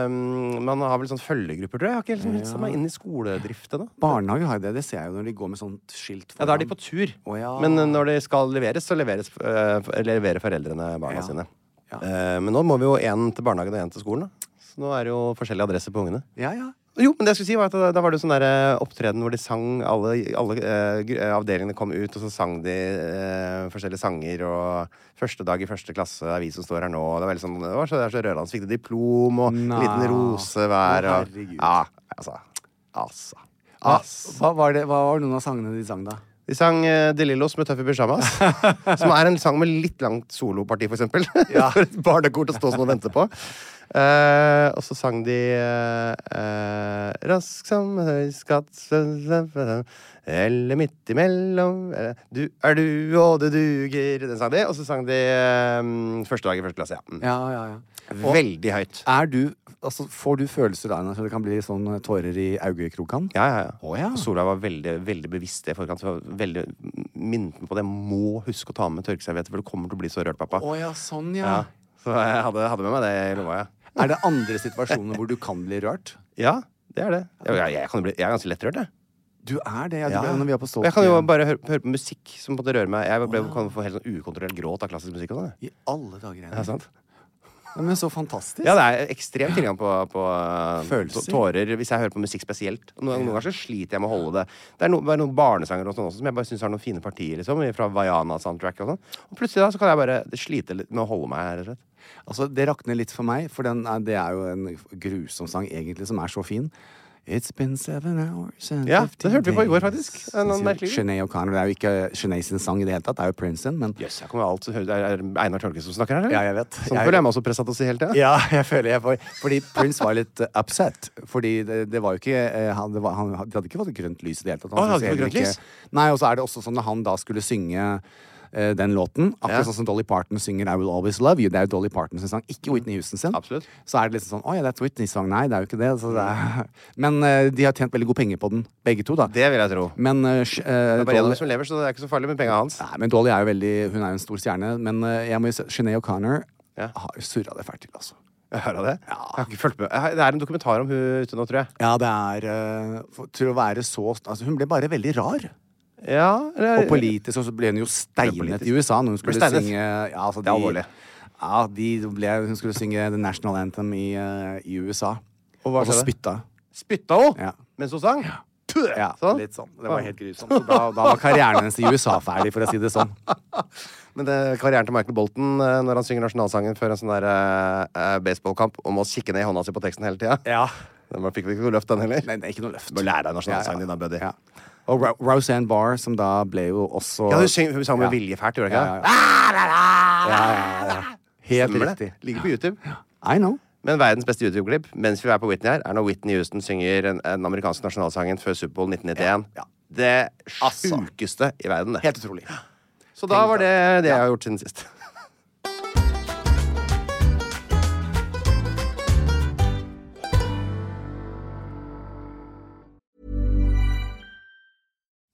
S2: um, man har vel sånn følgegrupper, tror jeg. Jeg Har ikke helt sånn satt meg inn i skoledriften da.
S3: Barnehagen har jo det. Det ser jeg jo når de går med sånt skilt
S2: Ja, da er de på tur.
S3: Å, ja.
S2: Men eh, når de skal leveres, så leveres, eh, f- leverer foreldrene barna
S3: Ja.
S2: sine.
S3: Ja.
S2: Eh, men nå må vi jo én til barnehagen og én til skolen. Da. Så nå er det jo forskjellige adresser på ungene.
S3: Ja, ja.
S2: Jo, men det jeg skulle si var at da, da var det jo sånn der eh, opptreden hvor de sang Alle, alle eh, gr- eh, avdelingene kom ut, og så sang de eh, forskjellige sanger. Og første dag i første klasse er vi som står her nå. Og det var veldig sånn, det var så, det er så rørende. Så fikk de diplom og en
S3: Nei.
S2: liten rose hver.
S3: Å,
S2: Og,
S3: herregud.
S2: ja, altså. Altså.
S3: Hva,
S2: altså.
S3: Ah, hva, var det, hva var noen av sangene de sang, da?
S2: De sang eh, De Lillos med Tøffe Pyjamas, som er en sang med litt langt soloparti, for eksempel. for et barnekor til å stå sånn og vente på. Eh, og så sang de eh, eh, Rask som høy skatt Eller midt imellom eh, Du er du, og det duger Den sang de. Og så sang de eh, Første dag i første klasse, ja. Mm.
S3: Ja, ja, ja.
S2: Veldig høyt.
S3: Er du, altså, får du følelser da, så det kan bli sånn tårer i augekrokene?
S2: Ja, ja, ja.
S3: Å, ja.
S2: Og Solveig var veldig, veldig bevisst det i forkant. så var Veldig minnet meg på det. Må huske å ta med tørkeservietter, for du kommer til å bli så rørt, pappa.
S3: Å ja, sånn,
S2: Ja. Så jeg hadde, hadde med meg det i lomma, ja.
S3: Er det andre situasjoner hvor du kan bli rørt?
S2: Ja, det er det. Jeg, jeg, jeg, kan jo bli, jeg er ganske lettrørt, jeg.
S3: Du er det, ja. Du ble, når vi er på
S2: Og jeg kan jo
S3: Stolt
S2: bare høre, høre på musikk som på en måte rører meg. Jeg ble, kan få helt sånn ukontrollert gråt av klassisk musikk og sånn. jeg.
S3: I alle dager.
S2: Ja,
S3: Ja,
S2: sant?
S3: men så fantastisk.
S2: ja, det er ekstrem tilgang på, på eh,
S3: Følelser.
S2: tå- tårer hvis jeg hører på musikk spesielt. Og Noen, noen ganger så sliter jeg med å holde det. Det er no, bare noen barnesanger og sånn også, som jeg bare syns har noen fine partier, liksom. Fra Vaiana-soundtrack og sånn. Og plutselig da så kan jeg bare slite litt med å holde meg, rett og slett.
S3: Altså, det rakner litt for meg, for den er, det er jo en grusom sang egentlig, som er så fin. It's been seven hours and
S2: Ja,
S3: 15
S2: den hørte vi på i går,
S3: days.
S2: faktisk. En annen merkelig grunn.
S3: Sinead O'Connor. Det er jo ikke Sinead sin sang i det hele tatt, det er jo Princeton, men
S2: Jøss, jeg kommer jo alt Det er Einar Tørkes som snakker her, eller?
S3: Ja, jeg vet.
S2: Sånn
S3: Jeg-
S2: føler jeg meg også pressa til å si hele tida.
S3: Ja, jeg føler jeg får Fordi Prince var litt eh, upset. Fordi det, det var jo ikke eh, han, det var, han, De hadde ikke fått grønt lys i det hele tatt.
S2: Å, han
S3: syntes
S2: hadde ikke fått
S3: heller
S2: grønt
S3: ikke- Nei, Og så er det også sånn at han da skulle synge eh, den låten. Akkurat
S2: Ja.
S3: sånn som Dolly Parton synger 'I Will Always Love You'. Det er jo Dolly Parton sin sang, ikke Whitney Houston sin.
S2: Mm. Absolutt.
S3: Så er det liksom sånn 'Å ja, det er Whitney sang'. Nei, det er jo ikke det. Så det er, men eh, de har tjent veldig god penger på den, begge to, da.
S2: Det vil jeg tro.
S3: Men eh, sj- eh,
S2: Det er bare en av dem
S3: Dolly-
S2: som lever, så det er ikke så farlig med penga hans.
S3: Nei, men Dolly er jo veldig Hun er jo en stor stjerne. Men eh, jeg må jo si Sinead O'Connor
S2: Ja.
S3: har surra det fælt til, altså.
S2: Jeg hører det. Jeg har ikke fulgt med. Jeg har- Det er en dokumentar om hun ute nå, tror jeg.
S3: Ja, det er eh, for, Til å være så altså, Hun ble bare veldig rar.
S2: Ja, eller,
S3: Og politisk, og så ble hun jo steinet i USA når hun
S2: Ble
S3: skulle
S2: steinet.
S3: synge ja, altså,
S2: Det er alvorlig.
S3: Ja, de ble, hun skulle synge The National Anthem i, eh, i USA.
S2: Og hva
S3: så
S2: skjedde?
S3: spytta.
S2: Spytta hun
S3: Ja.
S2: mens hun sang?
S3: Ja,
S2: Sånn?
S3: litt sånn. Det var helt grusomt. Så da, da var karrieren hennes i USA ferdig, for å si det sånn.
S2: Men det, karrieren til Michael Bolton eh, når han synger nasjonalsangen før en sånn der eh, eh, baseballkamp om å kikke ned i hånda si på teksten hele tida.
S3: Ja.
S2: Den var- fikk vi ikke noe løft, den heller.
S3: Nei, det er ikke noe løft.
S2: Du må lære deg nasjonalsangen din, da, buddy.
S3: Ja. Og Ro Roseanne Barr, som da ble jo også
S2: Ja, hun, syng, hun sang med
S3: Ja.
S2: vilje fælt, gjorde hun ikke
S3: Ja,
S2: det? Ah,
S3: ja, ja. Ja, ja, ja. Helt
S2: Stemmer
S3: riktig.
S2: det? Ligger på YouTube.
S3: I know.
S2: Men verdens beste YouTube-klipp mens vi er på Whitney her, er når Whitney Houston synger den den amerikanske nasjonalsangen før Superbowl 1991.
S3: Ja, ja.
S2: Det
S3: Altså.
S2: sjukeste i verden, det.
S3: Helt utrolig.
S2: Så da var det det jeg har gjort siden sist.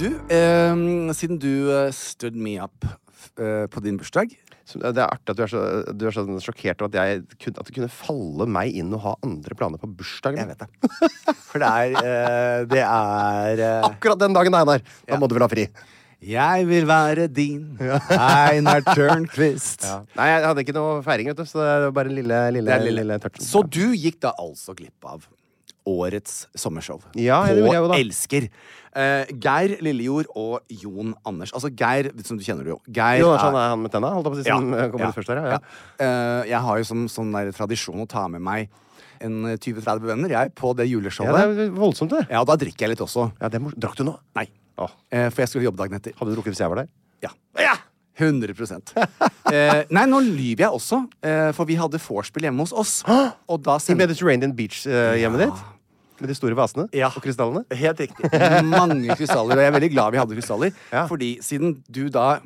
S3: Du, eh, siden du eh, stood me up eh, på din bursdag
S2: Så Det er artig at du er så, du er så sånn sjokkert over at, jeg, kun- at det kunne falle meg inn å ha andre planer på bursdagen.
S3: Jeg vet det. For det er eh, Det er eh,
S2: Akkurat den dagen, Einar. Da må du vel ha fri.
S3: Jeg vil være din Einar Tørnquist.
S2: Nei, jeg hadde ikke noe feiring, vet du, så det er bare en lille, lille,
S3: Det er
S2: lille.
S3: lille.
S2: touchen.
S3: Så du gikk da altså glipp av årets sommershow
S2: Ja, det
S3: på
S2: gjorde jeg jo da.
S3: Elsker. Eh, Geir Lillejord og Jon Anders. Altså Geir, som du kjenner det jo. Geir
S2: Jo, sånn er han med tenna, holdt jeg på å si.
S3: Ja,
S2: Som eh, kommer
S3: ja,
S2: ut først der, ja.
S3: ja. Eh, jeg har jo som sånn der tradisjon å ta med meg en eh, 20-30 venner jeg, på det
S2: ja. ja.
S3: juleshowet.
S2: Det er voldsomt, det.
S3: Ja, og da drikker jeg litt også.
S2: Ja, det er mors- Drakk du nå?
S3: Nei.
S2: Åh.
S3: Eh, for jeg skulle jobbe dagen etter.
S2: Hadde du drukket hvis jeg var der?
S3: Ja. 100 eh, Nei, nå lyver jeg også, eh, for vi hadde vorspiel hjemme hos oss. Og da
S2: I
S3: sendte
S2: Mediterranean Beach-hjemmet ditt? Med de store vasene
S3: Ja.
S2: og krystallene?
S3: Helt riktig. Mange krystaller. Og jeg er veldig glad vi hadde krystaller.
S2: Ja.
S3: Fordi siden du da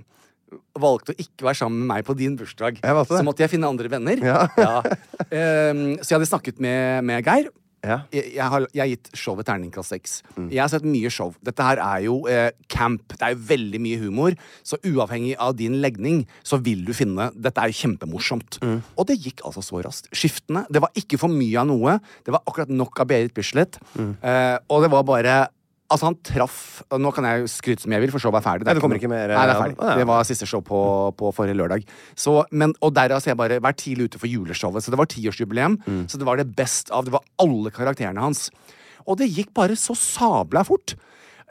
S3: valgte å ikke være sammen med meg på din bursdag,
S2: Jeg valgte det.
S3: så måtte jeg finne andre venner.
S2: Ja.
S3: Ehm, så jeg hadde snakket med, med Geir.
S2: Ja.
S3: Jeg, jeg, har, jeg har gitt showet terningkast seks. Jeg har sett mye show. Dette her er jo eh, camp. Det er jo veldig mye humor. Så uavhengig av din legning, så vil du finne Dette er jo kjempemorsomt. Og det gikk altså så raskt. Skiftene. Det var ikke for mye av noe. Det var akkurat nok av Berit Bislett. Eh, og det var bare Altså, han traff og Nå kan jeg jo skryte som jeg vil, for showet er ferdig.
S2: Nei, det kommer
S3: noe-
S2: ikke mer,
S3: Nei, det er
S2: ja.
S3: ferdig.
S2: Å, ja.
S3: eh, Det var var siste show på, på forrige lørdag. Så, men, og derav så har jeg bare vært tidlig ute for juleshowet. Så det var tiårsjubileum. Så det var det best av. Det var alle karakterene hans. Og det gikk bare så sabla fort.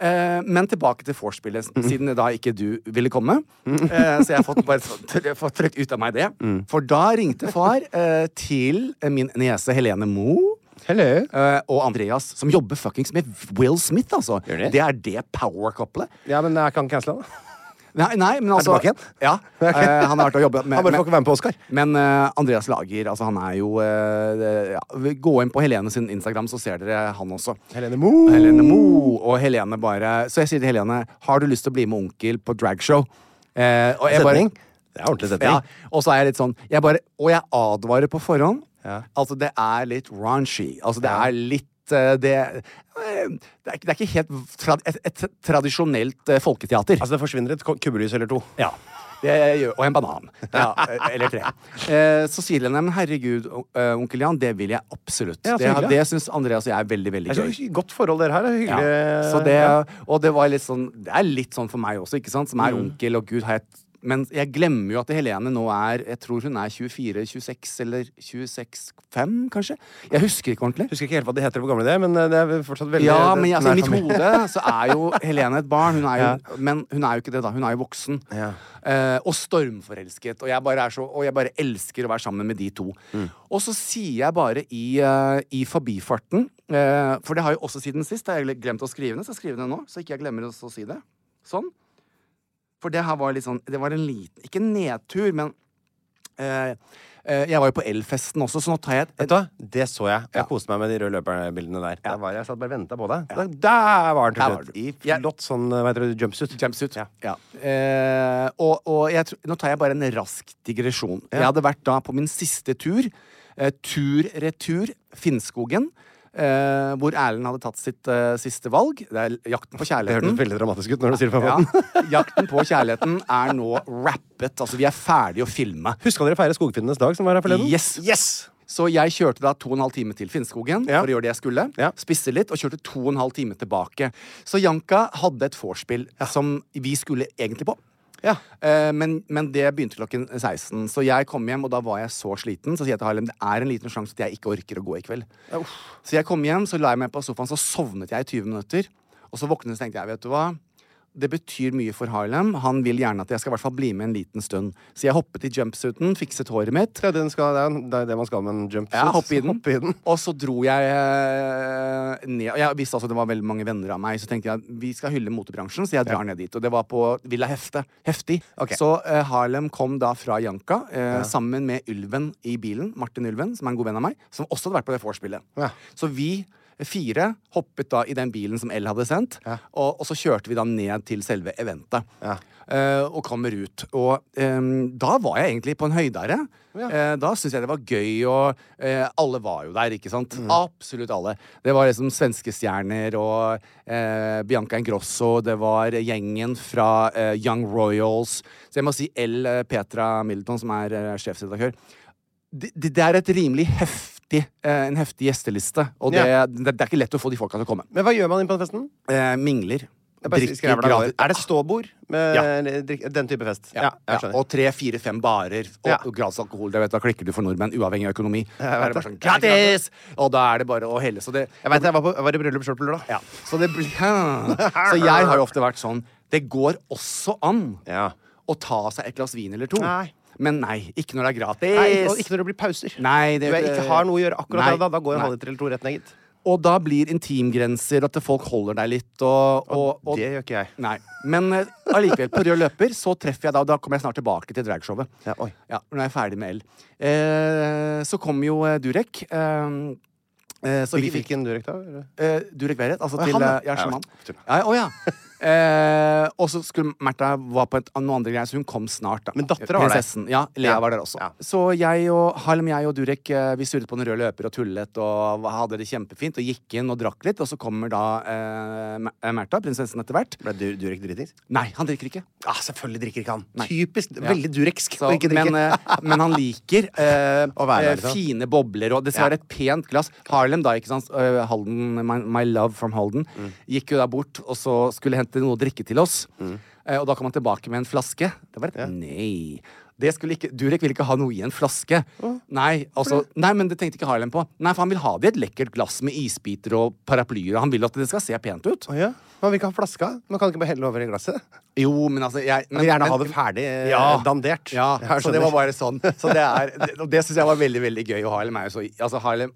S3: Eh, men tilbake til vorspielet, siden da ikke du ville komme. Eh, så jeg har fått, bare fått- tr- fått trykt ut av meg det. For da ringte far eh, til min niese Helene Moe.
S2: Hello.
S3: eh, og Andreas, som jobber fuckings med Will Smith, altså.
S2: Gjør de?
S3: Det er det power-couplet.
S2: Ja, men jeg kan cancele den.
S3: Nei, nei, men altså
S2: tilbake igjen?
S3: Ja, eh, Han har vært og jobbet med
S2: Han bare får ikke være med på Oscar.
S3: Men eh, Andreas Lager, altså han er jo eh, det- ja. Gå inn på Helene sin Instagram, så ser dere han også.
S2: Helene Moe.
S3: Helene Moe, og Helene bare Så jeg sier til Helene, har du lyst til å bli med onkel på dragshow? Eh, og jeg
S2: Setning.
S3: bare
S2: Det er ordentlig setning.
S3: ja, og så er jeg litt sånn jeg bare, Og jeg advarer på forhånd. Altså, det er litt raunchy. Altså, det er litt eh, det, eh, det, er, ikke- det er ikke helt trad et, et tradisjonelt eh, folketeater.
S2: Altså, det forsvinner et ko- kubbelys eller to.
S3: Ja. Det gjør, og en banan. Ja, eller tre. Eh, så sier Lene, men herregud, o- eh, onkel Jan, det vil jeg absolutt.
S2: Ja, så
S3: det
S2: hyggelig.
S3: det syns Andreas og jeg er veldig, veldig
S2: Det er
S3: gøy.
S2: så godt forhold dere har. det er
S3: Ja.
S2: Hyggelig.
S3: Så det,
S2: Ja.
S3: og det var litt sånn Det er litt sånn for meg også, ikke sant? Som er
S2: Mm.
S3: onkel, og gud har jeg Men jeg glemmer jo at Helene nå er Jeg tror hun er 24-26 eller 26-5, kanskje? Jeg husker ikke ordentlig.
S2: Husker ikke helt hva det heter på gamle det, men eh, det er fortsatt veldig
S3: Ja,
S2: det-
S3: men altså,
S2: nær
S3: i mitt
S2: familie.
S3: hode så er jo Helene et barn. Hun er jo, Men hun er jo ikke det, da. Hun er jo voksen.
S2: Ja.
S3: Eh, og stormforelsket. Og jeg, bare er så, og jeg bare elsker å være sammen med de to.
S2: Mm.
S3: Og så sier jeg bare i, eh, i forbifarten eh, For det har jeg også siden sist. Jeg har jeg glemt å skrive ned, så jeg skriver det nå. Så ikke jeg glemmer å si det. Sånn. For det her var litt sånn Det var en liten Ikke nedtur, men eh, eh, Jeg var jo på Elfesten også, så nå tar jeg et,
S2: Vet du hva? Det så jeg. Jeg
S3: Ja.
S2: koste meg med de røde løperbildene der. Der var jeg, jeg satt bare og ventet på deg.
S3: Ja.
S2: Der, der var
S3: Der
S2: han
S3: var
S2: til
S3: du.
S2: slutt. I
S3: Jeg-
S2: flott sånn hva heter det, jumpsuit.
S3: Jumpsuit.
S2: Ja.
S3: Ja. Eh, og og jeg, tr- nå tar jeg bare en rask digresjon. Jeg hadde vært da på min siste tur. eh, tur-retur Finnskogen. eh, hvor Erlend hadde tatt sitt eh, siste valg. Det er Jakten på
S2: Det hørtes
S3: kjærligheten.
S2: veldig dramatisk ut når du sier det på
S3: Mm. Ja.
S2: den måten.
S3: Jakten på kjærligheten er nå rappet. Altså, vi er ferdig å filme.
S2: Huska dere feire Skogfinnenes dag som var her forleden?
S3: Yes. Så jeg kjørte da to og en halv time til Finnskogen
S2: Ja.
S3: for å gjøre det jeg skulle.
S2: Ja.
S3: Spiste litt og kjørte to og en halv time tilbake. Så Janka hadde et vorspiel som vi skulle egentlig på.
S2: Ja.
S3: Eh, men, men det begynte klokken 16. Så jeg kom hjem, og da var jeg så sliten. Så sier jeg til Harlem det er en liten sjanse at jeg ikke orker å gå i kveld. Så jeg kom hjem, så la jeg meg på sofaen, så sovnet jeg i 20 minutter. Og så våknet jeg, så tenkte jeg, vet du hva? Det betyr mye for Harlem. Han vil gjerne at jeg skal i hvert fall bli med en liten stund. Så jeg hoppet i jumpsuiten, fikset håret mitt.
S2: Det, er den skal, det, er, det er det man skal med en jumpsuit.
S3: Ja, hoppe i den.
S2: Hoppe i den.
S3: Og så dro jeg eh, ned. og Jeg visste altså det var veldig mange venner av meg, så tenkte jeg at vi skal hylle motebransjen, så jeg drar ned dit. Og det var på Villa Hefte. Heftig.
S2: Ok.
S3: Så eh, Harlem kom da fra Janka eh, sammen med Ylven i bilen. Martin Ylven, som er en god venn av meg, som også hadde vært på det vorspielet.
S2: Ja.
S3: Så vi fire hoppet da i den bilen som L hadde sendt, og, og så kjørte vi da ned til selve eventet.
S2: Ja.
S3: Eh, og kommer ut. Og ehm, da var jeg egentlig på en høydere. Eh, da syntes jeg det var gøy, og eh, alle var jo der, ikke sant?
S2: Mm.
S3: Absolutt alle. Det var liksom svenske stjerner og eh, Bianca Ingrosso, det var gjengen fra eh, Young Royals. Så jeg må si L. eh, Petra Middleton, som er eh, sjefredaktør det, det det er et rimelig heftig eh, En heftig gjesteliste. Og det,
S2: Ja.
S3: det, det er ikke lett å få de folka til å komme.
S2: Men hva gjør man inn på den festen?
S3: Eh, mingler.
S2: Jeg bare
S3: Drikker
S2: skriver det
S3: gratis.
S2: der. Er det ståbord? Med
S3: Ja.
S2: drikk- Den type fest?
S3: Ja,
S2: jeg
S3: ja,
S2: skjønner.
S3: og tre, fire, fem barer og,
S2: Ja.
S3: og gratis alkohol. Det vet, du, da klikker du for nordmenn, uavhengig av økonomi.
S2: Ja,
S3: Det er bare sånn, gratis! Og da er det bare å helle. Så det,
S2: Jeg vet, jeg var, på, jeg var i bryllup sjøl på lørdag.
S3: ja. så, det blir- så jeg har jo ofte vært sånn Det går også an
S2: Ja.
S3: å ta seg et glass vin eller to.
S2: Nei.
S3: Men nei, ikke når det er gratis.
S2: Nei, og ikke når det blir pauser.
S3: Nei, det-
S2: Når jeg ikke har noe å gjøre akkurat
S3: Nei.
S2: da, da går en
S3: Nei.
S2: halvliter eller to rett ned, gitt.
S3: Og da blir intimgrenser, at folk holder deg litt, og, og, og
S2: det gjør ikke jeg.
S3: Nei. Men eh, allikevel, på rød løper så treffer jeg da, og da kommer jeg snart tilbake til dragshowet.
S2: Ja, oi.
S3: når jeg er ferdig med L. Eh, så kom jo eh, Durek. Eh, eh, så vi
S2: Hvilken,
S3: fikk
S2: hvilken Durek, da? eller?
S3: eh, Durek Verret, altså
S2: Å,
S3: til
S2: han, ja.
S3: eh, ja,
S2: Ja,
S3: sjaman.
S2: tull.
S3: Ja, å ja. Eh, og så skulle Märtha var på et, noen andre greier, så hun kom snart. da
S2: Men dattera var der.
S3: Prinsessen. Ja, Lea
S2: Ja.
S3: var der også.
S2: Ja.
S3: Så jeg og Halm, jeg og Durek eh, Vi surret på den røde løper og tullet og hadde det kjempefint. Og gikk inn og drakk litt, og så kommer da eh, Ma- eh, Märtha, prinsessen etter hvert.
S2: Ble Du- Durek dritings?
S3: Nei, han drikker ikke.
S2: Ah, selvfølgelig drikker ikke han.
S3: Nei.
S2: Typisk.
S3: Ja.
S2: Veldig dureksk
S3: Så,
S2: å ikke drikke.
S3: men, eh, men han liker eh,
S2: Å være der,
S3: eh,
S2: liksom.
S3: fine bobler, og det skal
S2: Ja.
S3: være et pent glass. Harlem, da, ikke sant. eh, Halden, my, my love from Halden,
S2: Mm.
S3: gikk jo da bort og så skulle hente noe å drikke til oss.
S2: Mm.
S3: Eh, og da kom han tilbake med en flaske. Det var et nei. Det skulle ikke, Durek ville ikke ha noe i en flaske. Nei, altså, nei, men det tenkte ikke Harlem på. Nei, For han vil ha det i et lekkert glass med isbiter og paraplyer. Og han vil at det skal se pent ut.
S2: Å, ja. Man vil ikke ha flaska. Man kan ikke bare helle over i glasset.
S3: Jo, men altså jeg,
S2: Man vil gjerne ha det ferdig eh, dandert.
S3: Ja,
S2: Jeg
S3: så det var
S2: skjønner.
S3: bare sånn. Så det er, det- og det syns jeg var veldig veldig gøy. Og Harlem er jo så Altså, Harlem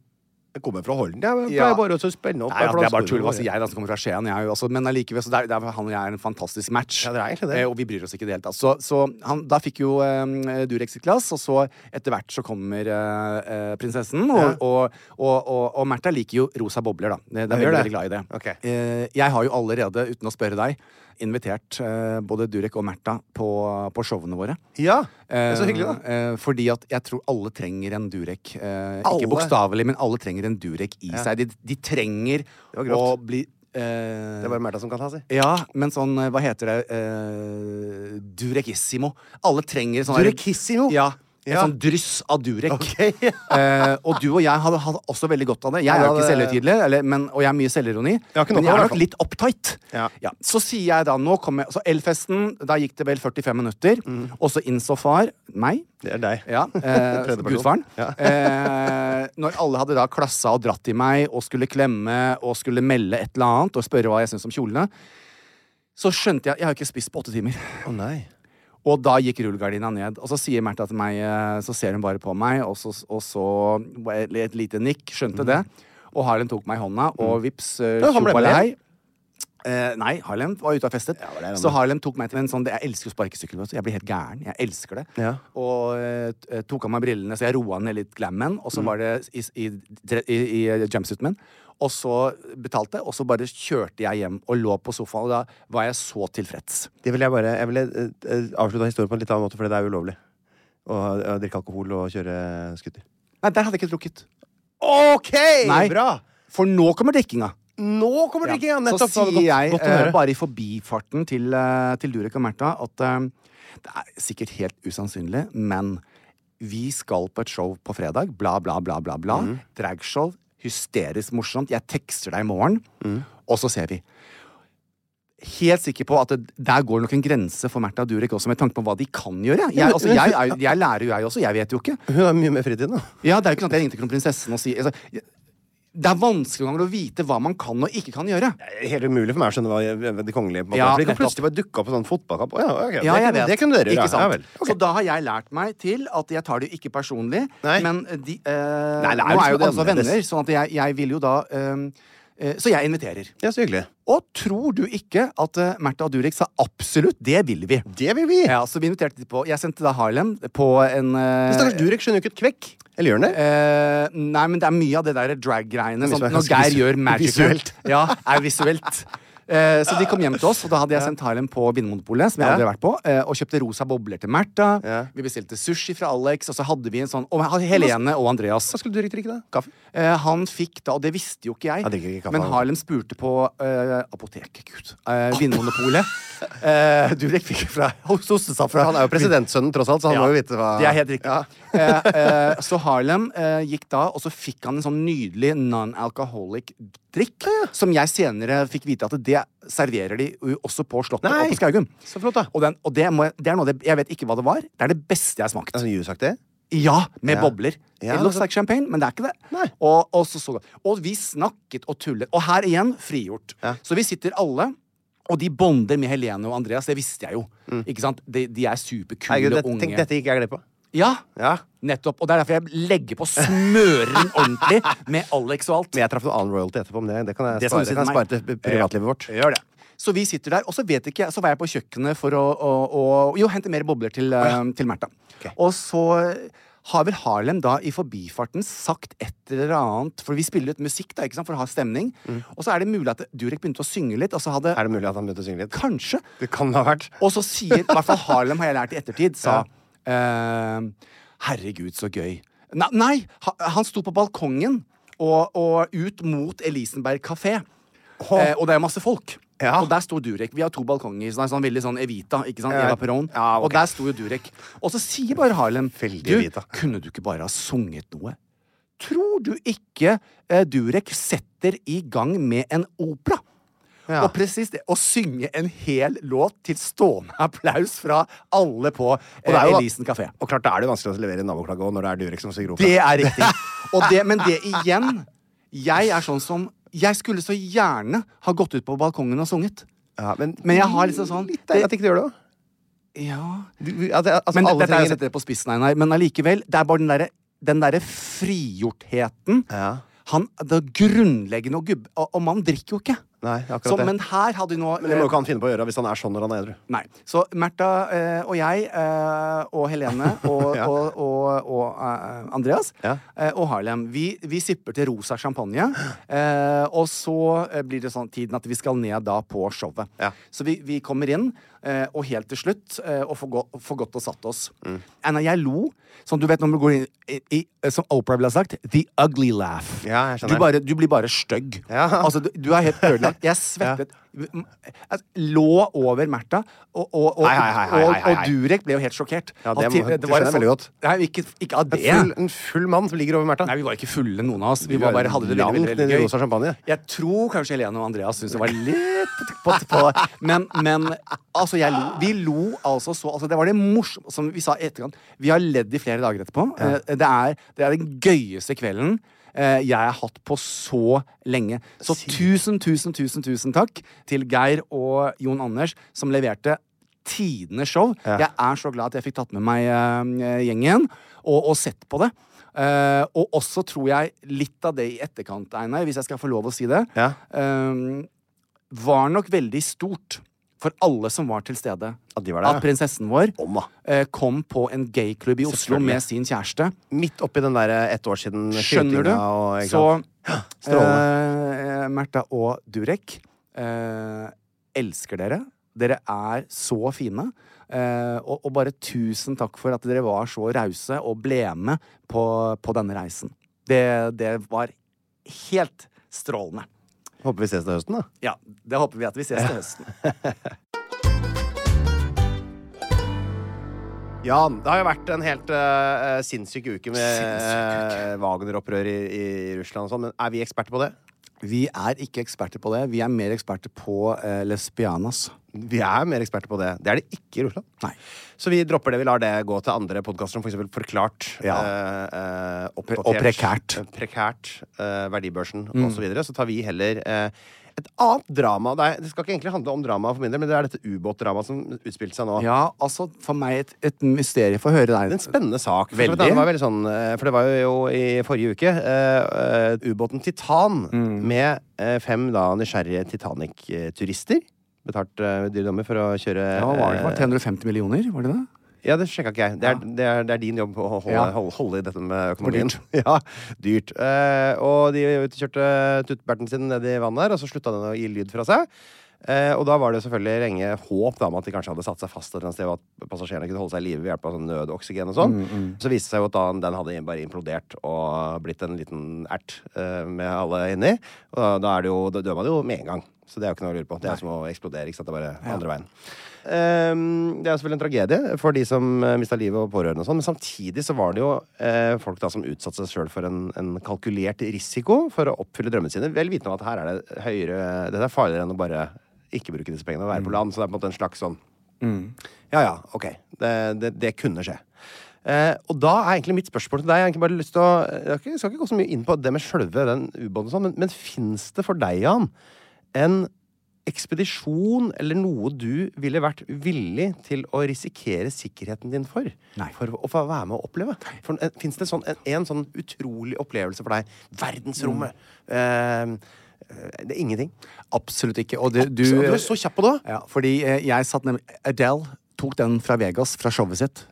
S2: Jeg kommer fra Holden. Jeg
S3: Ja.
S2: pleier bare å spenne opp.
S3: Nei, altså, det er
S2: flasker
S3: bare tull. Altså,
S2: over.
S3: jeg da, som kommer fra Skien, jeg, er jo også, men allikevel. Så det er, det er, han og jeg er en fantastisk match.
S2: Ja, det er egentlig det.
S3: Eh, og vi bryr oss ikke i det hele tatt. Så, så han, da fikk jo eh, Durek sitt glass, og så etter hvert så kommer eh, eh, prinsessen. Og, og, og, og, og Märtha liker jo rosa bobler, da. Det, det
S2: gjør
S3: er veldig,
S2: det.
S3: veldig glad i det.
S2: Ok.
S3: Eh, jeg har jo allerede, uten å spørre deg, invitert eh, både Durek og Märtha på, på showene våre.
S2: Ja, det er så hyggelig, da.
S3: Eh, eh, fordi at jeg tror alle trenger en Durek.
S2: Alle?
S3: Eh, ikke bokstavelig, men alle trenger en Durek i seg. De, de trenger
S2: var
S3: å
S2: grovt.
S3: bli
S2: Det er
S3: eh,
S2: bare Märtha som kan ta, si.
S3: Ja, men sånn eh, Hva heter det? Eh, Durekissimo. Alle trenger sånn
S2: Durekissimo?
S3: Ja. Et
S2: Ja.
S3: sånn dryss av Durek.
S2: Ok.
S3: eh, og du og jeg hadde, hadde også veldig godt av det. Jeg er
S2: Ja,
S3: jo ikke
S2: det-
S3: selvhøytidelig, eller- men- og jeg er mye selvironi.
S2: har ikke nok av
S3: Men jeg
S2: det,
S3: er
S2: i hvert
S3: nok litt uptight.
S2: Ja.
S3: Så sier jeg da nå kommer jeg, Så Elfesten, da gikk det vel 45 minutter.
S2: Mm.
S3: Og så innså far meg
S2: Det er deg.
S3: ja, eh,
S2: Tredje person.
S3: Gudfaren.
S2: Ja.
S3: eh, når alle hadde da klassa og dratt i meg og skulle klemme og skulle melde et eller annet og spørre hva jeg syntes om kjolene, så skjønte jeg Jeg har jo ikke spist på åtte timer.
S2: Å nei.
S3: Og da gikk rullegardina ned. Og så sier Märtha til meg eh, Så ser hun bare på meg, og så, og så et, et lite nikk. Skjønte det. Og Harlem tok meg i hånda, og vips, eh,
S2: Mhm. Ja, han ble med
S3: tjobalei. Eh, nei, Harlem var ute og festet.
S2: det er han.
S3: så Harlem tok meg til en sånn Jeg elsker jo sparkesykkel. vet du. Jeg blir helt gæren. Jeg elsker det.
S2: Ja.
S3: Og eh, t- eh, tok av meg brillene, så jeg roa ned litt glammen.
S2: Mm.
S3: Og så var det i, i, dre- i, i eh, jumpsuiten min. Og så betalte, og så bare kjørte jeg hjem og lå på sofaen. Og da var jeg så tilfreds.
S2: Det vil jeg bare Jeg ville eh, eh, avslutta historien på en litt annen måte, for det er ulovlig. Å, å drikke alkohol og kjøre scooter.
S3: Nei, Nei, der hadde jeg ikke drukket.
S2: Ok!
S3: Nei.
S2: Bra!
S3: For nå kommer drikkinga.
S2: Nå kommer det ikke igjen!
S3: Så
S2: Nettopp.
S3: sier
S2: det var
S3: jeg
S2: godt, godt å
S3: eh,
S2: høre.
S3: bare i forbifarten til, eh, til Durek og Märtha at eh, det er sikkert helt usannsynlig, men vi skal på et show på fredag. Bla, bla, bla, bla. bla.
S2: Mm.
S3: Dragshow. Hysterisk morsomt. Jeg tekster deg i morgen,
S2: Mm.
S3: og så ser vi. Helt sikker på at det, der går nok en grense for Märtha og Durek også, med tanke på hva de kan gjøre. Jeg, altså, jeg, er jo- jeg lærer jo, jeg også. Jeg vet jo ikke.
S2: Hun har mye mer fritid nå.
S3: Ja, det er jo ikke sånn at jeg ringte kronprinsessen og sier altså, jeg- Det er vanskelig noen ganger å vite hva man kan og ikke kan gjøre.
S2: Helt umulig for meg å skjønne hva jeg- de kongelige på en måte
S3: Ja,
S2: er, for de kan
S3: nettopp.
S2: plutselig bare dukke opp på sånn fotballkamp. Å, ja, ok, det,
S3: Ja, jeg
S2: kunne,
S3: vet.
S2: det kunne dere gjøre.
S3: Ikke sant?
S2: Ja, vel. Ok.
S3: Så da har jeg lært meg til at jeg tar det jo ikke personlig,
S2: Nei.
S3: men de,
S2: Nei,
S3: eh,
S2: det er
S3: nå
S2: jo
S3: er
S2: så
S3: jo det
S2: annerledes.
S3: altså venner, sånn at jeg, jeg vil jo da eh, eh, Så jeg inviterer.
S2: Ja, så hyggelig.
S3: Og tror du ikke at uh, Märtha og Durek sa absolutt det vil vi?
S2: Det vil vi!
S3: Ja, så vi inviterte de på Jeg sendte da Harlem på en eh,
S2: Men Stakkars Durek skjønner jo ikke et kvekk. Eller gjør han det?
S3: Eh, nei, men det er mye av det der drag-greiene.
S2: Det
S3: Sånn,
S2: er ganske
S3: når Geir
S2: visu-
S3: gjør magic
S2: visuelt.
S3: Ja, er visuelt. Eh, så de kom hjem til oss, og da hadde jeg sendt Harlem på Vinmonopolet, som jeg aldri har vært på, eh, og kjøpte rosa bobler til Märtha.
S2: Ja.
S3: Vi bestilte sushi fra Alex, og så hadde vi en sånn Og Helene og Andreas.
S2: Hva skulle Durek drikke, da? Kaffe?
S3: Eh, han fikk da, og det visste jo ikke jeg,
S2: Han drikker ikke kaffe,
S3: men
S2: han.
S3: Harlem spurte på eh, apoteket, gud, eh, Vinmonopolet. eh, Durek fikk fra hos Ostestad fra
S2: Han er jo presidentsønnen, tross alt, så han
S3: Ja,
S2: må jo vite hva
S3: Det er helt riktig. Eh, eh, så Harlem eh, gikk da, og så fikk han en sånn nydelig non-alcoholic drikk, som jeg senere fikk vite at det serverer de jo også på Slottet
S2: Nei.
S3: og på Skaugum.
S2: Så flott, da.
S3: Og, den, og det, må jeg, det er noe av det, jeg vet ikke hva det var. Det er det beste jeg har smakt.
S2: Altså, Jusaktig?
S3: Ja, med
S2: Ja.
S3: bobler.
S2: Ja,
S3: It looks
S2: altså-
S3: like champagne, men det er ikke det.
S2: Nei.
S3: Og, og, så, så, og vi snakket og tullet. Og her igjen frigjort. Så vi sitter alle, og de bonder med Helene og Andreas. Det visste jeg jo. Ikke sant? De, de er superkule
S2: Mm. Herregud, dette,
S3: unge.
S2: tenk, dette gikk jeg glipp av.
S3: Ja,
S2: Ja.
S3: nettopp. Og det er derfor jeg legger på smører den ordentlig med Alex og alt.
S2: Men jeg traff noe annen royalty etterpå, men det, det kan jeg
S3: Det
S2: spare,
S3: skal du si
S2: det kan jeg spare
S3: til
S2: til privatlivet vårt.
S3: Gjør det. Så vi sitter der, og så vet ikke jeg, så var jeg på kjøkkenet for å, å, å jo, hente mer bobler til, eh, til Märtha. Og så har vel Harlem da i forbifarten sagt et eller annet For vi spiller litt musikk da, ikke sant, for å ha stemning. Og så er det mulig at Durek begynte å synge litt, og så hadde
S2: Mm. Er det mulig at han begynte å synge litt?
S3: Kanskje.
S2: Det kan det ha vært.
S3: Og så sier, i hvert fall Harlem har jeg lært i ettertid, sa ehm, Herregud, så gøy. Nei, nei ha- han sto på balkongen og, og ut mot Elisenberg kafé. Eh, og det er masse folk.
S2: Ja.
S3: Og der sto Durek. Vi har to balkonger. Sånn, sånn veldig sånn Evita. ikke sant?
S2: Ja.
S3: Eva Perón.
S2: Ja, ok.
S3: Og der sto jo Durek. Og så sier bare Harlem
S2: Veldig
S3: Du,
S2: Evita.
S3: kunne du ikke bare ha sunget noe? Tror du ikke eh, Durek setter i gang med en opera?
S2: Ja.
S3: Og presis det, å synge en hel låt til stående applaus fra alle på
S2: det
S3: eh,
S2: er jo-
S3: Elisen kafé.
S2: Og klart, da er det jo vanskelig å levere naboklage også når det er Durek som synger opera.
S3: Det er riktig. Og det, men det igjen Jeg er sånn som Jeg skulle så gjerne ha gått ut på balkongen og sunget.
S2: Ja, men,
S3: Men jeg har liksom sånn-
S2: Litt deilig at ikke du gjør det òg.
S3: Ja
S2: Altså,
S3: Men
S2: alle
S3: dette er jo å
S2: trenger-
S3: sette det på spissen, Einar. Men allikevel. Det er bare den derre den derre frigjortheten.
S2: Ja.
S3: Han, det er grunnleggende og gubbe... Og, og mannen drikker jo ikke.
S2: Nei, det er akkurat
S3: Så,
S2: det.
S3: men her hadde vi nå
S2: Men det må jo ikke han finne på å gjøre hvis han er sånn når han er edru.
S3: Nei. Så Märtha eh, og jeg eh, og Helene og,
S2: Ja.
S3: og, og, og eh, Andreas
S2: Ja.
S3: eh, og Harlem, vi, vi sipper til rosa champagne. Eh, og så eh, blir det sånn tiden at vi skal ned da på showet.
S2: Ja.
S3: Så vi, vi kommer inn, eh, og helt til slutt, eh, og får, gå, får godt og satt oss.
S2: Mm.
S3: Anna, jeg lo. Som du vet når du går inn i, i Som Oprah ville ha sagt, the ugly laugh.
S2: Ja, jeg skjønner.
S3: du, bare, du blir bare stygg.
S2: Ja.
S3: Altså, du, du er helt ødelagt. Jeg svettet. Jeg lå over Märtha, og, og, og,
S2: Hei, hei, hei, hei,
S3: og,
S2: hei,
S3: og
S2: hei.
S3: Durek ble jo helt sjokkert.
S2: Ja, det
S3: At
S2: må- det
S3: var en
S2: skjønner jeg veldig godt.
S3: Nei, ikke, ikke av
S2: En
S3: det.
S2: full, en full mann som ligger over Märtha.
S3: Nei, vi var ikke fulle, noen av oss. Vi
S2: Du
S3: var
S2: er
S3: bare hadde det veldig,
S2: langt
S3: veldig,
S2: nedi
S3: veldig
S2: rosa champagne.
S3: Jeg tror kanskje Helene og Andreas syntes det var litt på, på, på Men, men altså, jeg lo. Vi lo altså så altså, Det var det morsomme Som vi sa i etterkant. Vi har ledd i flere dager etterpå. Eh, Det, er, det er den gøyeste kvelden. eh, Jeg har hatt på så lenge. Så tusen, tusen, tusen tusen takk til Geir og Jon Anders, som leverte tidenes show. Jeg er så glad at jeg fikk tatt med meg eh, gjengen og, og sett på det. Eh, og også tror jeg litt av det i etterkant, Einar, hvis jeg skal få lov å si det,
S2: Ja.
S3: eh, var nok veldig stort for alle som var til stede.
S2: At de var der, ja.
S3: At prinsessen vår
S2: Om, da.
S3: eh, kom på en gayklubb i Oslo
S2: Selvfølgelig.
S3: med sin kjæreste.
S2: Midt oppi den der eh, ett år siden
S3: Skjønner du?
S2: skytinga og ikke
S3: Så
S2: sant? Strålende.
S3: eh, Märtha og Durek eh, elsker dere. Dere er så fine. Eh, og, og bare tusen takk for at dere var så rause og ble med på, på denne reisen. Det, det var helt strålende.
S2: Håper vi ses til høsten, da.
S3: Ja, det håper vi at vi ses til høsten.
S2: Ja, det har jo vært en helt eh, sinnssyk uke med eh, Wagner-opprør i, i Russland og sånn, men er vi eksperter på det?
S3: Vi er ikke eksperter på det. Vi er mer eksperter på eh, lesbianas.
S2: Vi er mer eksperter på det. Det er det ikke i Russland.
S3: Nei.
S2: Så vi dropper det. Vi lar det gå til andre podkaster som for eksempel Forklart.
S3: Ja.
S2: eh, eh, oppdatert,
S3: Og Prekært.
S2: eh, Prekært, eh, Verdibørsen og osv. Så, videre. så tar vi heller eh, et annet drama. Det, er, det skal ikke egentlig handle om drama for min del, men det er dette ubåtdramaet som utspilte seg nå.
S3: Ja, altså, for meg et, et mysterium. Få høre
S2: Det er
S3: deg.
S2: en spennende sak. For,
S3: Veldig.
S2: Det var veldig sånn, eh, for det var jo i forrige uke eh, eh, ubåten Titan
S3: Mm.
S2: med eh, fem da nysgjerrige Titanic-turister. Betalt eh, dyre dommer for å kjøre
S3: Ja, hva var det for?
S2: eh,
S3: 350 millioner, var det det?
S2: Ja, det sjekka ikke jeg. Det er, det, er, det er din jobb å holde,
S3: Ja.
S2: holde, holde i dette med økonomien. Ja, dyrt. Eh, og de kjørte tuttberten sin ned i vannet, her, og så slutta den å gi lyd fra seg. Eh, og da var det selvfølgelig lenge håp da, om at de kanskje hadde satt seg fast et eller annet sted, og at passasjerene kunne holde seg i live ved hjelp av sånn nødoksygen og sånn. Så viste det seg jo at da, den hadde bare implodert og blitt en liten ert eh, med alle inni. Og da, da, er det jo, da dør man jo med en gang. Så det er jo ikke noe å lure på. Det er som å eksplodere. ikke sant? Det er bare andre veien. Ehm, det er jo selvfølgelig en tragedie for de som uh, mista livet og pårørende, og sånn, men samtidig så var det jo eh, folk da som utsatte seg sjøl for en, en kalkulert risiko for å oppfylle drømmene sine, vel vitende om at her er det høyere Dette er farligere enn å bare ikke bruke disse pengene og være på land. Så det er på en måte en slags sånn ja, ja, ok. Det, det, det kunne skje. Eh, og da er egentlig mitt spørsmål til deg Jeg har egentlig bare lyst til å jeg har ikke- skal ikke gå så mye inn på det med sjølve den ubåten, og sånn, men, men fins det for deg, Jan, en ekspedisjon eller noe du ville vært villig til å risikere sikkerheten din for?
S3: Nei.
S2: For å få være med å oppleve? For Fins det sånn, en, en sånn utrolig opplevelse for deg? Verdensrommet. Eh, det er ingenting.
S3: Mm. Absolutt ikke. Og det, du,
S2: Så du er så kjapp på det!
S3: Ja, fordi eh, jeg satt nemlig Adele tok den fra Vegas, fra showet sitt.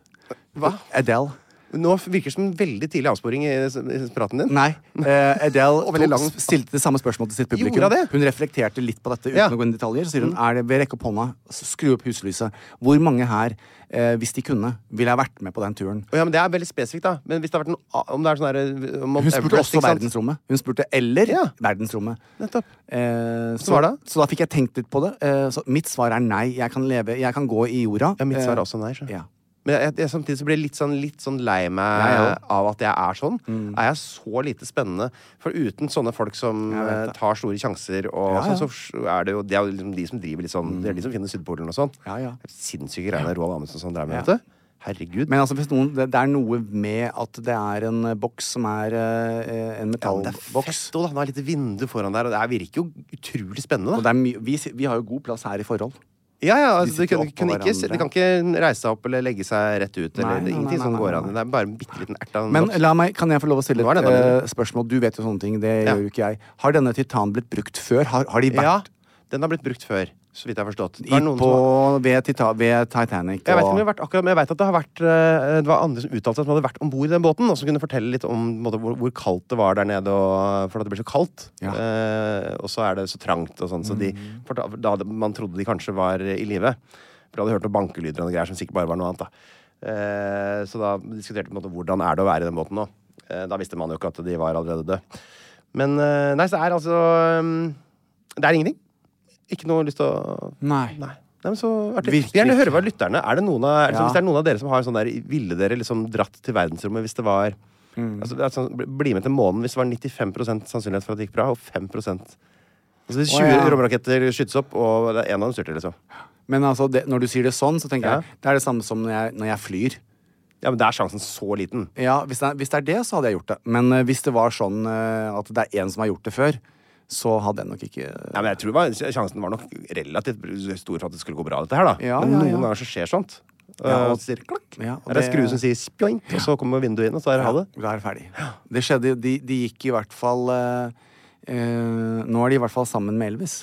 S2: Hva?
S3: Adele.
S2: Nå virker det som en veldig tidlig avsporing i, i praten din.
S3: Nei. Eh, Adele
S2: Og veldig
S3: tok,
S2: lang.
S3: stilte det samme spørsmålet til sitt publikum.
S2: Gjorde hun det?
S3: Hun reflekterte litt på dette uten
S2: Ja. Mm.
S3: å gå inn i detaljer. Så sier hun er det ved rekke opp hånda, s- skru opp huslyset. Hvor mange her, eh, hvis de kunne, ville ha vært med på den turen?
S2: Å Ja, men Det er veldig spesifikt, da. Men hvis det har vært noe a- om det er sånn der, eh, Mount
S3: Hun spurte
S2: Everest,
S3: også
S2: ikke sant?
S3: verdensrommet. Hun spurte eller
S2: Ja.
S3: verdensrommet.
S2: Nettopp.
S3: Eh, så,
S2: Svar da?
S3: så da fikk jeg tenkt litt på det. Eh, så mitt svar er nei. Jeg kan leve, jeg kan gå i jorda.
S2: Ja, mitt svar
S3: Eh,
S2: er også nei. Så.
S3: ja.
S2: Men jeg, jeg, samtidig så blir jeg litt sånn, litt sånn lei meg
S3: Jeg Mm.
S2: av at jeg er sånn. Er jeg så lite spennende? For uten sånne folk som eh, tar store sjanser, og
S3: Ja, ja.
S2: Sånn, så er det jo det er jo liksom de som driver litt sånn Det er de som finner Sydpolen og sånn.
S3: Ja, ja.
S2: Sinnssyke greiene Roald Amundsen og sånn drev med,
S3: Ja.
S2: vet du. Herregud.
S3: Men altså, hvis noen, det, det er noe med at det er en eh, boks som er eh, en
S2: ja, men det er
S3: metallboks.
S2: fett, og da. Han har et lite vindu foran der, og det her virker jo utrolig spennende. da
S3: og det er mye- vi, si- vi har jo god plass her i forhold.
S2: Ja, ja,
S3: De
S2: altså, du,
S3: sitter
S2: kan,
S3: oppå
S2: kan ikke,
S3: hverandre.
S2: de kan ikke reise seg opp eller legge seg rett ut. Eller,
S3: Nei, nei,
S2: ingenting
S3: nei,
S2: som
S3: nei,
S2: går
S3: nei,
S2: an.
S3: nei.
S2: Det er bare en bitte liten ert av en
S3: Men
S2: boks.
S3: la meg, kan jeg få lov å stille
S2: Hva Mm. er
S3: et
S2: det da,
S3: eh,
S2: Marie?
S3: spørsmål? Du vet jo sånne ting. Det
S2: Ja.
S3: gjør jo ikke jeg. Har denne titanen blitt brukt før? Har, har de
S2: Ja,
S3: vært
S2: den har blitt brukt før, så vidt jeg har forstått. Det
S3: i,
S2: er noen
S3: på,
S2: som har-
S3: ved, tita, ved Titanic?
S2: jeg vet ikke om
S3: og-
S2: det har vært akkurat, men jeg vet at det har vært eh, Det var andre som uttalte seg som hadde vært om bord i den båten, og som kunne fortelle litt om på en måte, hvor, hvor kaldt det var der nede, og, for at det ble så kaldt.
S3: Ja.
S2: Eh, og så er det så trangt og sånn, så de, for da, da hadde- man trodde de kanskje var i live. For da hadde de hørt noen bankelyder og noe greier som sikkert bare var noe annet, da. Eh, så da diskuterte vi på en måte hvordan er det å være i den båten nå. Eh, da visste man jo ikke at de var allerede døde. Men eh, nei, så er altså mm, Det er ingenting. Ikke noe lyst til å
S3: Nei.
S2: Nei. Nei, men så artig.
S3: Virkelig.
S2: Vi gjerne høre hva lytterne Er det noen av, er det sånn,
S3: Ja.
S2: Hvis det er noen av dere som har sånn der Ville dere liksom dratt til verdensrommet hvis det var
S3: Mm.
S2: altså, det er sånn, bli- Bli med til månen hvis det var 95 sannsynlighet for at det gikk bra, og 5 altså, Hvis 20
S3: ja.
S2: romraketter skytes opp, og det er én av dem styrter, liksom.
S3: Men altså, det, når du sier det sånn, så tenker
S2: Ja.
S3: jeg det er det samme som når jeg, når jeg flyr.
S2: Ja, men da er sjansen så liten.
S3: Ja, hvis det, er, hvis det er det, så hadde jeg gjort det. Men eh, hvis det var sånn eh, at det er én som har gjort det før, så hadde jeg nok ikke
S2: Nei, men jeg tror det var, Sjansen var nok relativt stor for at det skulle gå bra, dette her, da.
S3: Ja,
S2: men
S3: ja,
S2: noen
S3: ja.
S2: ganger så skjer sånt. Eh,
S3: Ja,
S2: og,
S3: og-
S2: så sier det klakk.
S3: Ja, og
S2: er det en
S3: det-
S2: skrue som sier spjoink, og så kommer vinduet inn, og så er det ha det.
S3: Da er det ferdig. Det skjedde, de, de gikk i hvert fall eh, eh, Nå er de i hvert fall sammen med Elvis.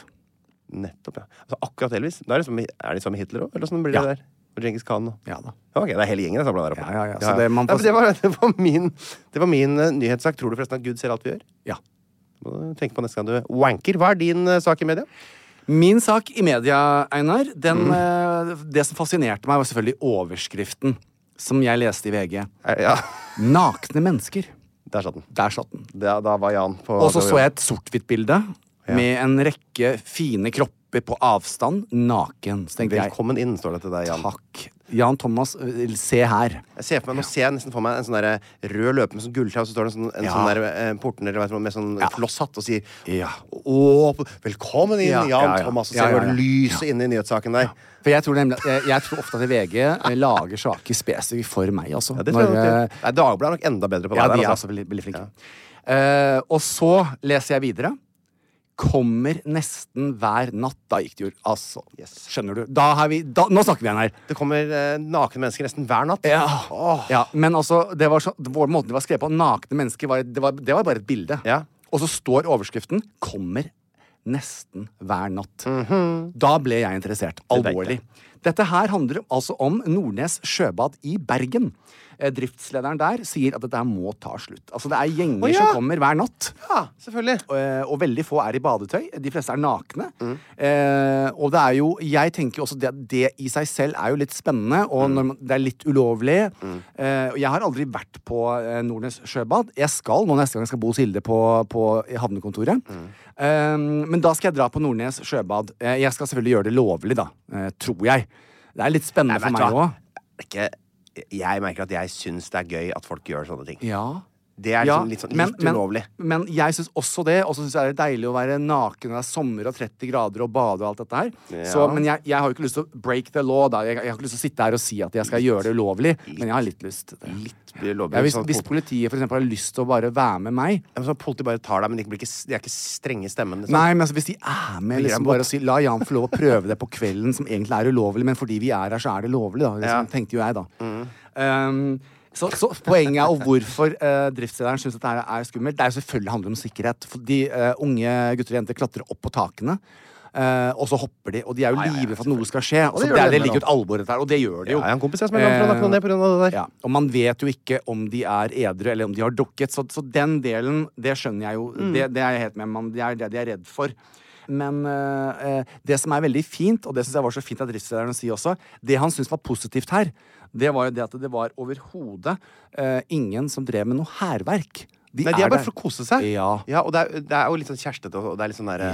S2: Nettopp, ja. Altså, akkurat Elvis. Da er, det som, er de sammen med Hitler òg, eller sånn blir
S3: Ja.
S2: det der? Og Genghis Khan og
S3: Ja da.
S2: Ja, ok, det er hele gjengen jeg samla der oppe.
S3: Ja, ja, ja, så det- man
S2: Nei,
S3: får-
S2: men det, var, det, var min, det var min eh, nyhetssak. Tror du forresten at Gud ser alt vi gjør?
S3: Ja.
S2: Må du tenke på neste gang du wanker. Hva er din eh, sak i media?
S3: Min sak i media, Einar, den,
S2: Mm.
S3: eh, det som fascinerte meg, var selvfølgelig overskriften som jeg leste i VG.
S2: Eh, Ja,
S3: Nakne mennesker.
S2: der satt den.
S3: Der satt den.
S2: Da, da var Jan på
S3: Og så så jeg et sort-hvitt bilde med en rekke fine kropper på avstand, naken. Så tenkte jeg
S2: Velkommen inn, står det til deg, Jan.
S3: takk. Jan Thomas, eh, se her.
S2: Jeg ser for meg, Nå ser jeg nesten for meg en sånn der rød løper med sånn gulltrau, og så står det en sånn, en
S3: Ja.
S2: sånn der, eh, portner vet du, med sånn flosshatt og sier
S3: Ja.
S2: Å, velkommen inn,
S3: Ja,
S2: Jan
S3: ja, ja.
S2: Thomas. Og
S3: Ja,
S2: ser
S3: ja,
S2: bare
S3: ja.
S2: lyset inne i nyhetssaken der.
S3: For jeg tror, nemlig, jeg, jeg tror ofte at VG eh, lager saker spesifikt for meg, altså.
S2: Ja, det tror jeg
S3: Når,
S2: nok
S3: eh,
S2: det. Nei, Dagbladet er nok enda bedre på det.
S3: Ja,
S2: der,
S3: de er
S2: altså.
S3: også veldig, veldig flinke. Eh, og så leser jeg videre. Kommer nesten hver natt. Da gikk det jo altså, Skjønner du? Da har vi, da, nå snakker vi igjen her.
S2: Det kommer eh, nakne mennesker nesten hver natt.
S3: Ja.
S2: Åh.
S3: ja men altså, det var så, vår måten det var skrevet på, nakne mennesker, var, det, var, det var bare et bilde.
S2: Ja.
S3: Og så står overskriften 'Kommer nesten hver natt'.
S2: Mhm.
S3: Da ble jeg interessert. Alvorlig. Dette her handler altså om Nordnes sjøbad i Bergen. Eh, Driftslederen der sier at dette her må ta slutt. Altså, det er gjenger
S2: Å, ja.
S3: som kommer hver natt.
S2: Ja, selvfølgelig.
S3: Eh, og veldig få er i badetøy. De fleste er nakne.
S2: Mm.
S3: Eh, og det er jo Jeg tenker jo også det, det i seg selv er jo litt spennende, og
S2: Mm.
S3: når man, det er litt ulovlig. Eh, og jeg har aldri vært på eh, Nordnes sjøbad. Jeg skal nå neste gang jeg skal bo hos Hilde på, på i havnekontoret.
S2: Mm.
S3: Eh, men da skal jeg dra på Nordnes sjøbad. Eh, jeg skal selvfølgelig gjøre det lovlig, da. Eh, tror jeg. Det er litt spennende
S2: Nei, vet du
S3: for meg
S2: hva?
S3: òg.
S2: Det er ikke, jeg merker at jeg syns det er gøy at folk gjør sånne ting.
S3: Ja.
S2: Det er liksom litt, sånn,
S3: men-
S2: litt ulovlig.
S3: Men, men jeg syns også det. Og så syns jeg det er deilig å være naken når det er sommer og 30 grader og bade og alt dette her. Så, men jeg, jeg har jo ikke lyst til å break the law, da. Jeg, jeg har ikke lyst til å sitte her og si at jeg skal gjøre det ulovlig. Men jeg har litt lyst til det.
S2: blir lovlig,
S3: Ja, hvis,
S2: sånn at
S3: hvis
S2: folk-
S3: politiet for eksempel har lyst til å bare være med meg
S2: Ja, men så Politiet bare tar deg, men de, blir ikke, de er ikke strenge i stemmen. Liksom.
S3: Nei, men altså, hvis de er med
S2: Gir
S3: liksom
S2: dem
S3: bare og sier La Jan få lov å prøve det på kvelden, som egentlig er ulovlig, men fordi vi er her, så er det lovlig, da. Liksom, Tenkte jo jeg, da.
S2: Mm.
S3: Um, så, så poenget er, og hvorfor uh, driftslederen syns dette her er skummelt, det er jo selvfølgelig handler om sikkerhet. Fordi eh, unge gutter og jenter klatrer opp på takene. eh, og så hopper de, og de er jo live for at noe skal skje. Og
S2: det
S3: så
S2: gjør
S3: der,
S2: de
S3: det
S2: med
S3: ligger jo et alvor i dette her, og det gjør det
S2: Ja,
S3: jo.
S2: jeg har en kompis jeg som er langt fra
S3: Eh,
S2: nakken ned på grunn av det der.
S3: ja. Og man vet jo ikke om de er edru eller om de har drukket. Så, så den delen, det skjønner jeg jo.
S2: Mm.
S3: Det, det er jeg helt med om. Det er det de er redd for. Men øh, øh, det som er veldig fint, og det syns jeg var så fint av driftslederen å si også, det han syntes var positivt her, det var jo det at det var overhodet øh, ingen som drev med noe hærverk. De,
S2: Nei, de er bare
S3: der.
S2: for å kose seg.
S3: Ja.
S2: og det er, det er jo litt sånn kjærestete, og det er litt sånn derre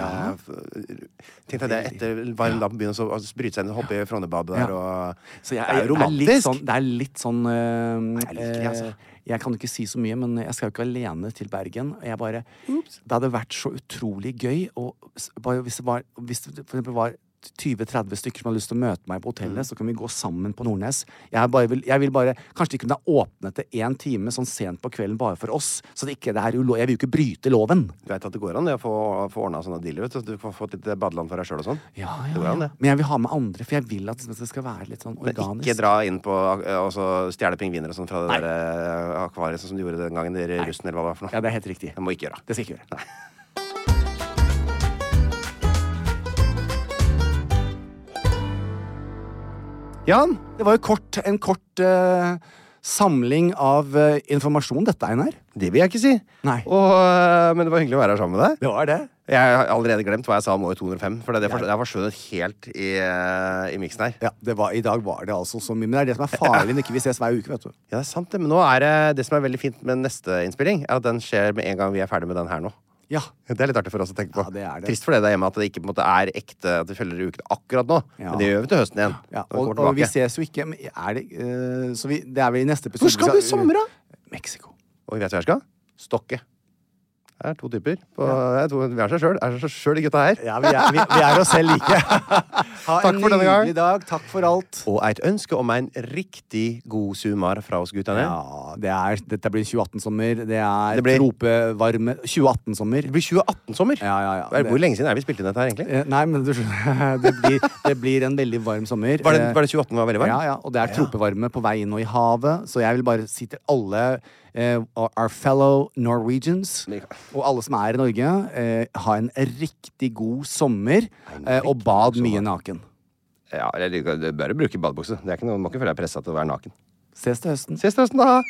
S2: Tenk deg det etter varm dag på byen, og så og så bryte seg inn og hoppe i Frognerbadet der,
S3: Ja.
S2: og
S3: Så jeg,
S2: Det er jo
S3: Det er
S2: romantisk.
S3: litt sånn, det er litt sånn øh,
S2: jeg liker det, altså.
S3: øh, Jeg kan ikke si så mye, men jeg skal jo ikke alene til Bergen. og Jeg bare, det hadde vært så utrolig gøy og, s- bare hvis det var, hvis det for eksempel var 20-30 stykker som hadde lyst til å møte meg på hotellet,
S2: Mm.
S3: så kan vi gå sammen på Nordnes. Jeg, bare vil, jeg vil bare, Kanskje de kunne ha åpnet det én time sånn sent på kvelden bare for oss. Så det ikke, det er ulo- jeg vil jo ikke bryte loven.
S2: Du veit at det går an det å få, få ordna sånne dealer, vet du. så Du får fått litt badeland for deg sjøl og sånn.
S3: Ja,
S2: Det
S3: ja,
S2: går an,
S3: ja.
S2: det.
S3: Men jeg vil ha med andre, for jeg vil at det skal være litt sånn
S2: Men
S3: organisk.
S2: Ikke dra inn på eh, og så stjele pingviner og sånn fra det der eh, akvariet sånn som du gjorde den gangen dere russen eller hva det var for noe.
S3: Ja, det er helt riktig.
S2: Det må ikke gjøre.
S3: Det skal jeg ikke gjøre.
S2: Jan,
S3: Det var jo kort, en kort eh, samling av eh, informasjon, dette, Einar.
S2: det vil jeg ikke si.
S3: Nei.
S2: Og, eh, men det var hyggelig å være her sammen med deg.
S3: Det var det.
S2: Jeg har allerede glemt hva jeg sa om år 205, for det, det, for- det har forsvunnet helt i, eh, i miksen her.
S3: Ja, det var, I dag var det altså så mye. Men det er det som er farlig når ikke vi ses hver uke. vet du.
S2: Ja, det er sant det, men nå er det, det som er veldig fint med neste innspilling, er at den skjer med en gang vi er ferdig med den her nå.
S3: Ja,
S2: Det er litt artig for oss å tenke på.
S3: Ja, det er det.
S2: Trist for det der hjemme at det ikke på en måte er ekte, at vi følger ukene akkurat nå.
S3: Ja.
S2: Men det gjør vi til høsten igjen.
S3: ja.
S2: når vi
S3: Og,
S2: kommer
S3: og vi
S2: tilbake.
S3: ses jo ikke. Men er det, eh, så vi, det er vel i neste episode
S2: Hvor skal du i sommer, da?
S3: Mexico.
S2: Og vi vet hva jeg skal? Stokke. Det er to typer. På, det er to, vi er seg sjøl, er seg sjøl de gutta her.
S3: Ja, vi er, vi, vi er oss selv like. Ha
S2: Takk
S3: en
S2: for denne gang.
S3: nydelig dag. Takk for alt.
S2: Og et ønske om en riktig god sumar fra oss guttene.
S3: Ja, det er, Dette blir 2018-sommer. Det er
S2: Det blir-
S3: tropevarme 2018-sommer.
S2: Det blir 2018-sommer.
S3: Ja, ja, ja.
S2: Hvor lenge siden er det vi spilte inn dette her, egentlig?
S3: Eh, Nei, men du skjønner det blir, det blir en veldig varm sommer.
S2: Var det,
S3: Eh,
S2: var det 2018 var veldig varmt?
S3: Ja, ja, og det er tropevarme på vei inn og i havet, så jeg vil bare si til alle eh, our fellow Norwegians, og alle som er i Norge, eh, ha en riktig god sommer, eh, og bad mye naken.
S2: Ja, eller du bør jo bruke badebukse. Det er ikke noe, du må ikke føle deg pressa til å være naken.
S3: Ses til høsten.
S2: Ses til høsten, da!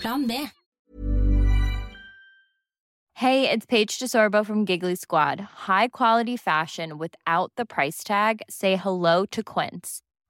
S4: Plan B. Hey, it's Paige DeSorbo from Giggly Squad. High quality fashion without the price tag. Say hello to Quince.